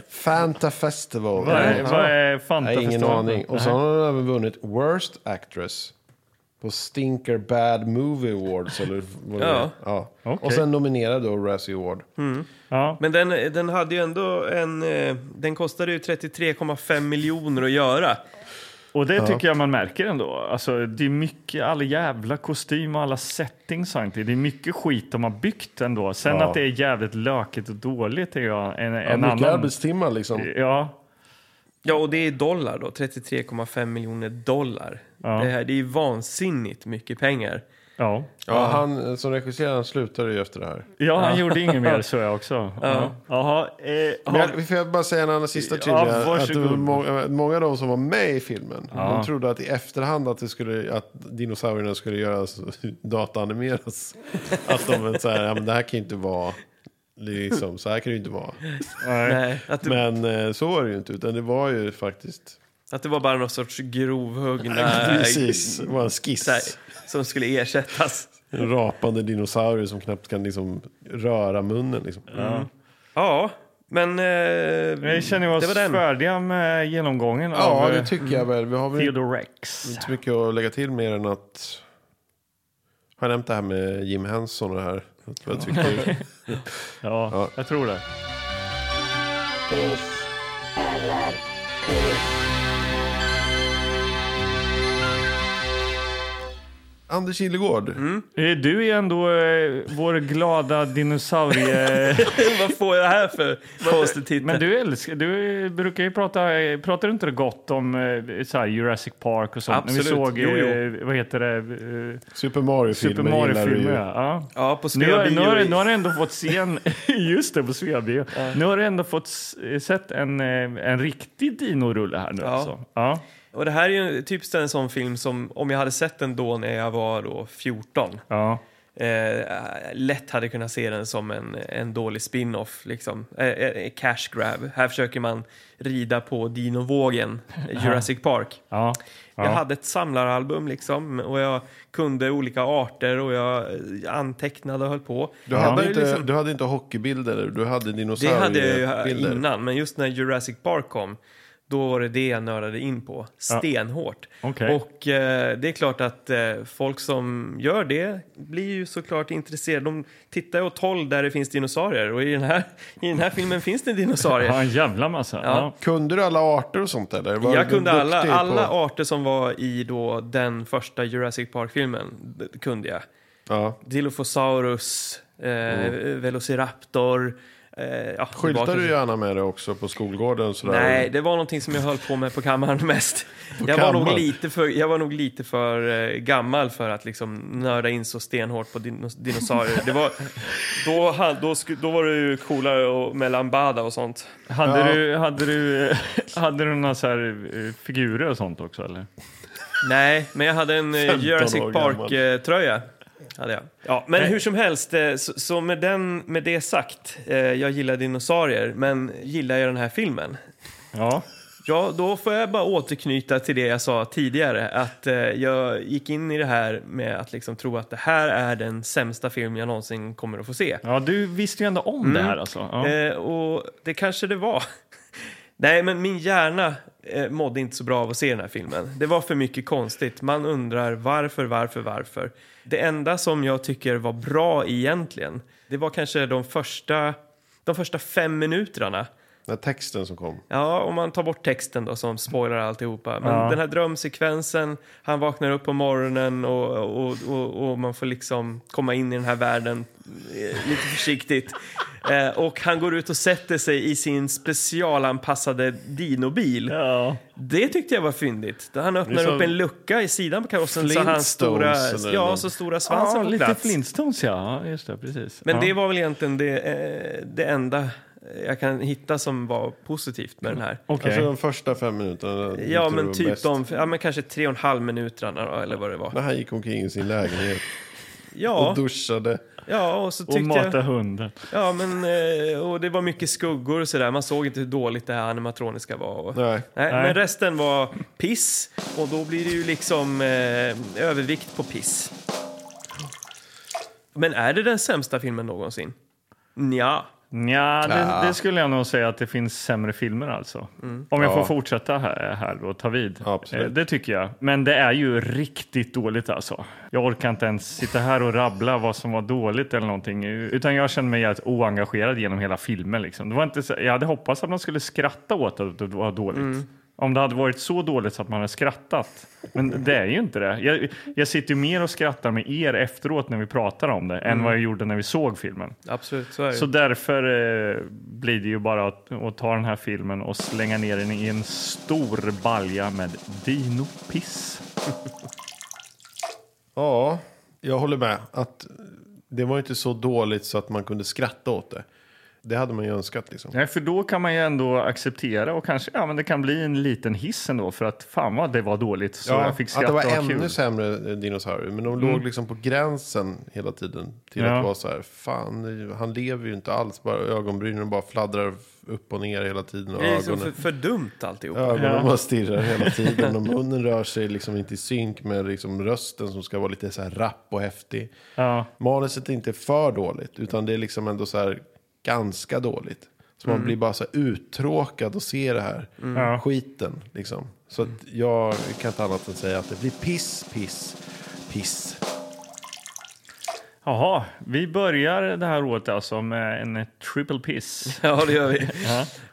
Speaker 1: Fanta Festival.
Speaker 3: Vad är, vad är Fanta
Speaker 1: Nej, ingen
Speaker 3: Festival?
Speaker 1: aning. Och så har hon även vunnit Worst Actress på Stinker Bad Movie Awards. Eller vad det
Speaker 2: Ja.
Speaker 1: är. ja.
Speaker 3: Okej. Mm.
Speaker 1: Och sen nominerad då Razzie Award.
Speaker 3: Ja.
Speaker 2: Men den, den hade ju ändå en... eh, Den kostade ju 33,5 miljoner att göra.
Speaker 3: Och det tycker jag man märker ändå. Alltså, det är mycket, all jävla kostym och alla settings och allt. Det är mycket skit de har byggt ändå. Sen
Speaker 1: Ja.
Speaker 3: att det är jävligt lökigt och dåligt är jag en,
Speaker 1: Ja,
Speaker 3: en
Speaker 1: mycket
Speaker 3: annan...
Speaker 1: arbetstimmar liksom.
Speaker 3: Ja,
Speaker 2: Ja, och det är dollar då. 33,5 miljoner dollar.
Speaker 3: Ja.
Speaker 2: Det, här, det är ju vansinnigt mycket pengar.
Speaker 3: ja.
Speaker 1: Ja, han som regisserar han slutade ju efter det här.
Speaker 3: ja han gjorde inget mer så jag också. Ja. Jaha, eh,
Speaker 1: Men
Speaker 3: har-
Speaker 1: jag, får jag bara säga en annan sista
Speaker 3: Ja,
Speaker 1: trivia? att det
Speaker 3: varsågod.
Speaker 1: var många, många av de som var med i filmen, de trodde att i efterhand att, det skulle, att dinosaurierna skulle göras dataanimeras. Att de var så här, ja, men det här kan ju inte vara, liksom, så här kan det ju inte vara.
Speaker 3: Mm.
Speaker 2: Nej, att, det,
Speaker 1: Men eh, så var det ju inte, utan det var ju faktiskt...
Speaker 2: att det var bara någon sorts grovhuggna...
Speaker 1: Precis, det var en skiss.
Speaker 2: Så här, som skulle ersättas.
Speaker 1: En rapande dinosaurie som knappt kan liksom röra munnen. Liksom.
Speaker 2: Ja, men... Eh,
Speaker 3: jag känner oss
Speaker 2: det var den.
Speaker 3: färdiga med genomgången
Speaker 1: Ja,
Speaker 3: av eh,
Speaker 1: det tycker jag väl. Vi har väl inte
Speaker 3: Theodore Rex.
Speaker 1: så mycket att lägga till mer än att... Har jag nämnt det här med Jim Henson och det här? Att Jag tycker,
Speaker 3: Ja,
Speaker 1: Ja.
Speaker 3: jag tror det.
Speaker 1: Anders Gillegård.
Speaker 2: Mm.
Speaker 3: Eh, Du är ändå eh, vår glada dinosaurie...
Speaker 2: Vad får jag här för konstig titel?
Speaker 3: Men du älskar, du brukar ju prata, pratar du inte gott om eh, så här Jurassic Park och sånt?
Speaker 2: Absolut.
Speaker 3: När vi såg,
Speaker 2: Jo, jo.
Speaker 3: eh, vad heter det, eh,
Speaker 1: Super Mario-filmer
Speaker 3: Super
Speaker 1: gillar du
Speaker 3: Mario-filmer.
Speaker 1: ju.
Speaker 3: Ja.
Speaker 2: Ja, på
Speaker 3: Nu, har-
Speaker 2: Svea
Speaker 3: nu, har,
Speaker 2: Bio.
Speaker 3: du- nu har du ändå fått se en, just det, på Sveabio. Nu har du ändå fått s- sett en, eh, en riktig dinorulle här nu
Speaker 2: Ja.
Speaker 3: alltså. Ja.
Speaker 2: Och det här är ju typiskt en sån film som om jag hade sett den då när jag var då 14
Speaker 3: Ja.
Speaker 2: eh, lätt hade kunnat se den som en, en dålig spin-off, liksom. eh, eh, cash grab. Här försöker man rida på dinovågen, eh, Jurassic Park.
Speaker 3: Ja.
Speaker 2: Jag hade ett samlaralbum liksom, och jag kunde olika arter och jag eh, antecknade och höll på.
Speaker 1: Du,
Speaker 2: Det var
Speaker 1: hade
Speaker 2: ju
Speaker 1: inte,
Speaker 2: liksom-
Speaker 1: du hade inte hockeybilder, du hade
Speaker 2: det
Speaker 1: dinosauriebilder.
Speaker 2: hade jag ju här innan, men just när Jurassic Park kom, då var det det jag nördade in på stenhårt.
Speaker 3: Okej.
Speaker 2: Och eh, det är klart att eh, folk som gör det blir ju såklart intresserade. De tittar ju åt håll där det finns dinosaurier och i den här, i den här filmen finns det
Speaker 3: Ja,
Speaker 2: dinosaurier.
Speaker 3: en jävla massa. Ja.
Speaker 1: Kunde du alla arter och sånt eller? Var
Speaker 2: Jag
Speaker 1: du
Speaker 2: kunde alla,
Speaker 1: duktig
Speaker 2: alla
Speaker 1: på-
Speaker 2: arter som var i då den första Jurassic Park-filmen, d- kunde jag.
Speaker 1: Ja.
Speaker 2: Dilophosaurus, eh, Velociraptor. Eh, ja,
Speaker 1: Oh. Skyltar
Speaker 2: tillbaka-
Speaker 1: du gärna med det också på skolgården? och Sådär?
Speaker 2: Nej, det var någonting som jag höll på med på kammaren mest. jag, var
Speaker 1: kammaren?
Speaker 2: nog lite för, jag var nog lite för eh, gammal för att liksom nörda in så stenhårt på dinos- dinosaurier. det var, då, ha- då, sku- då var det ju coolare och, med Lambada och sånt.
Speaker 3: Hade, Du, hade, du, eh, hade du några så här eh, figurer och sånt också eller?
Speaker 2: Nej, men jag hade en eh,
Speaker 1: 15 år
Speaker 2: Jurassic
Speaker 1: gammal.
Speaker 2: Park-tröja. hade jag. Ja, men hur som helst, eh, så, så med, den, med det sagt, eh, jag gillar dinosaurier, men gillar jag den här filmen?
Speaker 3: Ja.
Speaker 2: Ja, då får jag bara återknyta till det jag sa tidigare. Att eh, jag gick in i det här med att liksom tro att det här är den sämsta film jag någonsin kommer att få se.
Speaker 3: ja, du visste ju ändå om det här alltså. Ja.
Speaker 2: Eh, och det kanske det var. Nej, men min hjärna eh, mådde inte så bra av att se den här filmen. Det var för mycket konstigt. Man undrar varför, varför, varför. Det enda som jag tycker var bra egentligen, det var kanske de första, de första fem minuterna.
Speaker 1: Den här texten som kom.
Speaker 2: Ja, om man tar bort texten då som spoilar alltihopa. Men
Speaker 3: Ja.
Speaker 2: den här drömsekvensen, han vaknar upp på morgonen och, och, och, och man får liksom komma in i den här världen eh, lite försiktigt. Eh, och han går ut och sätter sig i sin specialanpassade dinobil.
Speaker 3: Ja.
Speaker 2: Det tyckte jag var fyndigt. Han
Speaker 1: Det
Speaker 2: öppnar
Speaker 1: är så
Speaker 2: upp en lucka i sidan på karossen så hans stora,
Speaker 1: Flintstones eller
Speaker 2: ja,
Speaker 1: något.
Speaker 2: så stora svansen får
Speaker 3: lite
Speaker 2: plats.
Speaker 3: Flintstones ja. ja, just det, precis.
Speaker 2: Men
Speaker 3: ja.
Speaker 2: det var väl egentligen det, eh, det enda jag kan hitta som var positivt med den här.
Speaker 3: Okej.
Speaker 1: Alltså de första fem minuterna. tyckte
Speaker 2: Ja,
Speaker 1: du
Speaker 2: men
Speaker 1: var
Speaker 2: typ
Speaker 1: bäst.
Speaker 2: de, ja men kanske tre och en halv minuterna då, eller vad det var.
Speaker 1: När han gick omkring i sin lägenhet
Speaker 2: Ja,
Speaker 1: och duschade.
Speaker 2: ja och så
Speaker 3: Och
Speaker 2: tyckte
Speaker 3: mata
Speaker 2: jag,
Speaker 3: hunden.
Speaker 2: ja men, eh, och det var mycket skuggor och sådär. Man såg inte hur dåligt det här animatroniska var. Och,
Speaker 1: Nej.
Speaker 2: Nej,
Speaker 3: Nej.
Speaker 2: men resten var piss och då blir det ju liksom eh, övervikt på piss. Men är det den sämsta filmen någonsin? Ja.
Speaker 3: Nja, det, det skulle jag nog säga att det finns sämre filmer alltså. Om jag
Speaker 1: Mm. Ja.
Speaker 3: får fortsätta här, här och ta vid.
Speaker 1: Absolut.
Speaker 3: Eh, Det tycker jag. Men det är ju riktigt dåligt alltså. Jag orkar inte ens sitta här och rabbla vad som var dåligt eller någonting. Utan jag känner mig helt oengagerad genom hela filmen liksom. Det var inte så, jag hade hoppats att man skulle skratta åt att det var dåligt.
Speaker 1: Mm.
Speaker 3: Om det hade varit så dåligt så att man hade skrattat. Men det är ju inte det. Jag, jag sitter ju mer och skrattar med er efteråt när vi pratar om det
Speaker 1: Mm.
Speaker 3: än vad jag gjorde när vi såg filmen.
Speaker 2: Absolut, så är det.
Speaker 3: Så därför eh, blir det ju bara att, att ta den här filmen och slänga ner den i en stor balja med dinopiss.
Speaker 1: Ja, jag håller med. Att det var inte så dåligt så att man kunde skratta åt det. Det hade man ju önskat liksom.
Speaker 3: Nej, för då kan man ju ändå acceptera och kanske, ja men det kan bli en liten hiss ändå för att fan vad det var dåligt så jag fick
Speaker 1: att
Speaker 3: skratta
Speaker 1: det
Speaker 3: och
Speaker 1: var
Speaker 3: ha
Speaker 1: ännu
Speaker 3: kul. Mm.
Speaker 1: sämre eh, dinosaurier. Men de låg liksom på gränsen hela tiden. Till
Speaker 3: Ja.
Speaker 1: att vara så här, fan, det- han lever ju inte alls. Bara ögonbrynen bara fladdrar upp och ner hela tiden. Och
Speaker 2: Det är liksom för,
Speaker 1: ögonen,
Speaker 2: för dumt alltihop.
Speaker 1: ögonen
Speaker 3: Ja.
Speaker 1: bara stirrar hela tiden. Och munnen rör sig liksom inte i synk med liksom rösten som ska vara lite så här rapp och häftig.
Speaker 3: Ja.
Speaker 1: Manuset är inte för dåligt, utan det är liksom ändå så här ganska dåligt. Så man blir bara så här uttråkad att se det här
Speaker 3: Mm. Ja.
Speaker 1: skiten. Liksom. Så att jag kan inte annat än säga att det blir piss, piss, piss.
Speaker 3: Jaha, vi börjar det här året alltså med en triple piss.
Speaker 2: Ja, det gör vi.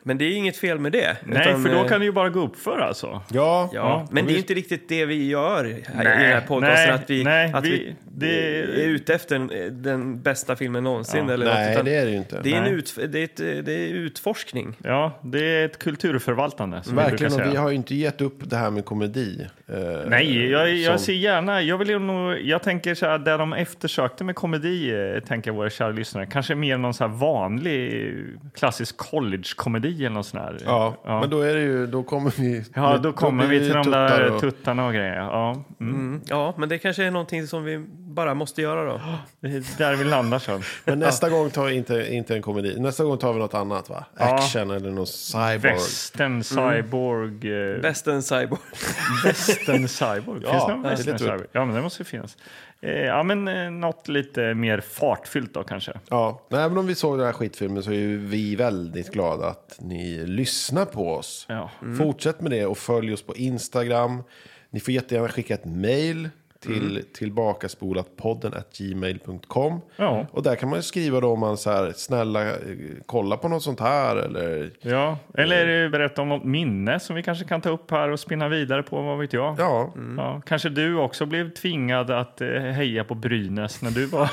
Speaker 2: Men det är inget fel med det.
Speaker 3: Nej,
Speaker 2: utan,
Speaker 3: för då
Speaker 2: eh,
Speaker 3: kan det ju bara gå upp för alltså.
Speaker 1: Ja,
Speaker 2: Ja, men det är inte riktigt det vi gör här i den här podcasten.
Speaker 3: nej,
Speaker 2: att vi,
Speaker 3: nej,
Speaker 2: att vi,
Speaker 3: vi- det-
Speaker 2: är ute efter den, den bästa filmen någonsin. eller något,
Speaker 1: nej
Speaker 2: utan
Speaker 1: det är det ju inte.
Speaker 2: det är, en
Speaker 3: Nej.
Speaker 2: ut, det, är ett, det är utforskning.
Speaker 3: Ja, det är ett kulturförvaltande som vi
Speaker 1: Verkligen,
Speaker 3: brukar säga.
Speaker 1: och vi har ju inte gett upp det här med komedi. eh,
Speaker 3: Nej, jag, jag
Speaker 1: som-
Speaker 3: ser gärna. Jag, vill ju nog, jag tänker så här, det de eftersökte med komedi, eh, tänker våra kära lyssnare, kanske mer någon så här vanlig eh, klassisk college-komedi eller något sånt här.
Speaker 1: Ja,
Speaker 3: ja.
Speaker 1: men då är det ju, då kommer vi...
Speaker 3: ja då kommer
Speaker 1: blir
Speaker 3: vi
Speaker 1: det
Speaker 3: till de
Speaker 1: tuttar
Speaker 3: där
Speaker 1: och-
Speaker 3: tuttarna och grejer. Ja, mm.
Speaker 2: Ja, men det kanske är någonting som vi bara måste göra då.
Speaker 3: Det är där vi landar sen.
Speaker 1: Men nästa gång tar vi inte, inte en komedi. Nästa gång tar vi något annat va? Action eller någon cyborg. Mm.
Speaker 3: Västern, cyborg, eh,
Speaker 2: Bästen cyborg.
Speaker 3: västern, cyborg. Finns
Speaker 1: Ja,
Speaker 3: det någon
Speaker 1: det är
Speaker 3: västern,
Speaker 1: lite upp.
Speaker 3: cyborg? Ja, men det måste ju finnas. Eh, ja, men eh, något lite mer fartfyllt då kanske.
Speaker 1: Ja, nej men om vi såg den här skitfilmen så är ju vi väldigt glada att ni lyssnar på oss.
Speaker 3: Ja. Mm.
Speaker 1: Fortsätt med det och följ oss på Instagram. Ni får jättegärna skicka ett mail till
Speaker 3: Mm.
Speaker 1: tillbakaspolatpodden at gmail.com.
Speaker 3: Ja.
Speaker 1: Och där kan man ju skriva då om man så här, snälla eh, kolla på något sånt här eller
Speaker 3: Ja, eller berätta om något minne som vi kanske kan ta upp här och spinna vidare på, vad vet jag.
Speaker 1: ja,
Speaker 3: Ja, kanske du också blev tvingad att eh, heja på Brynäs när du var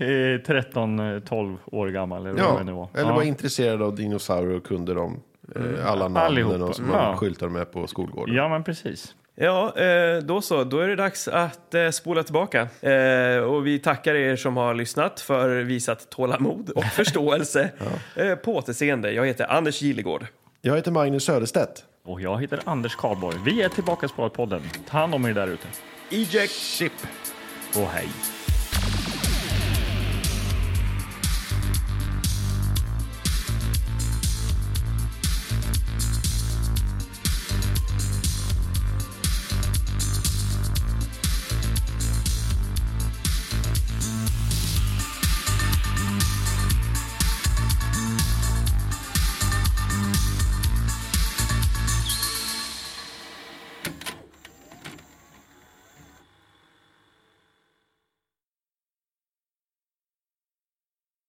Speaker 3: 13-12 år gammal. Eller vad
Speaker 1: ja.
Speaker 3: det nu var.
Speaker 1: eller
Speaker 3: ja. Mm.
Speaker 1: vara intresserad av dinosaurier och kunde dem. eh, Alla namnen
Speaker 3: Allihopa.
Speaker 1: och som man
Speaker 3: Ja.
Speaker 1: skyltar med på skolgården.
Speaker 3: ja, men precis.
Speaker 2: Ja, eh, då så. Då är det dags att eh, spola tillbaka. Eh, Och vi tackar er som har lyssnat för visat tålamod och förståelse. Eh, På återseende. Jag heter Anders Gilegård.
Speaker 1: Jag heter Magnus Söderstedt.
Speaker 3: Och jag heter Anders Karlborg. Vi är tillbaka på podden. Ta hand om er där ute.
Speaker 1: Eject ship!
Speaker 3: Och hej!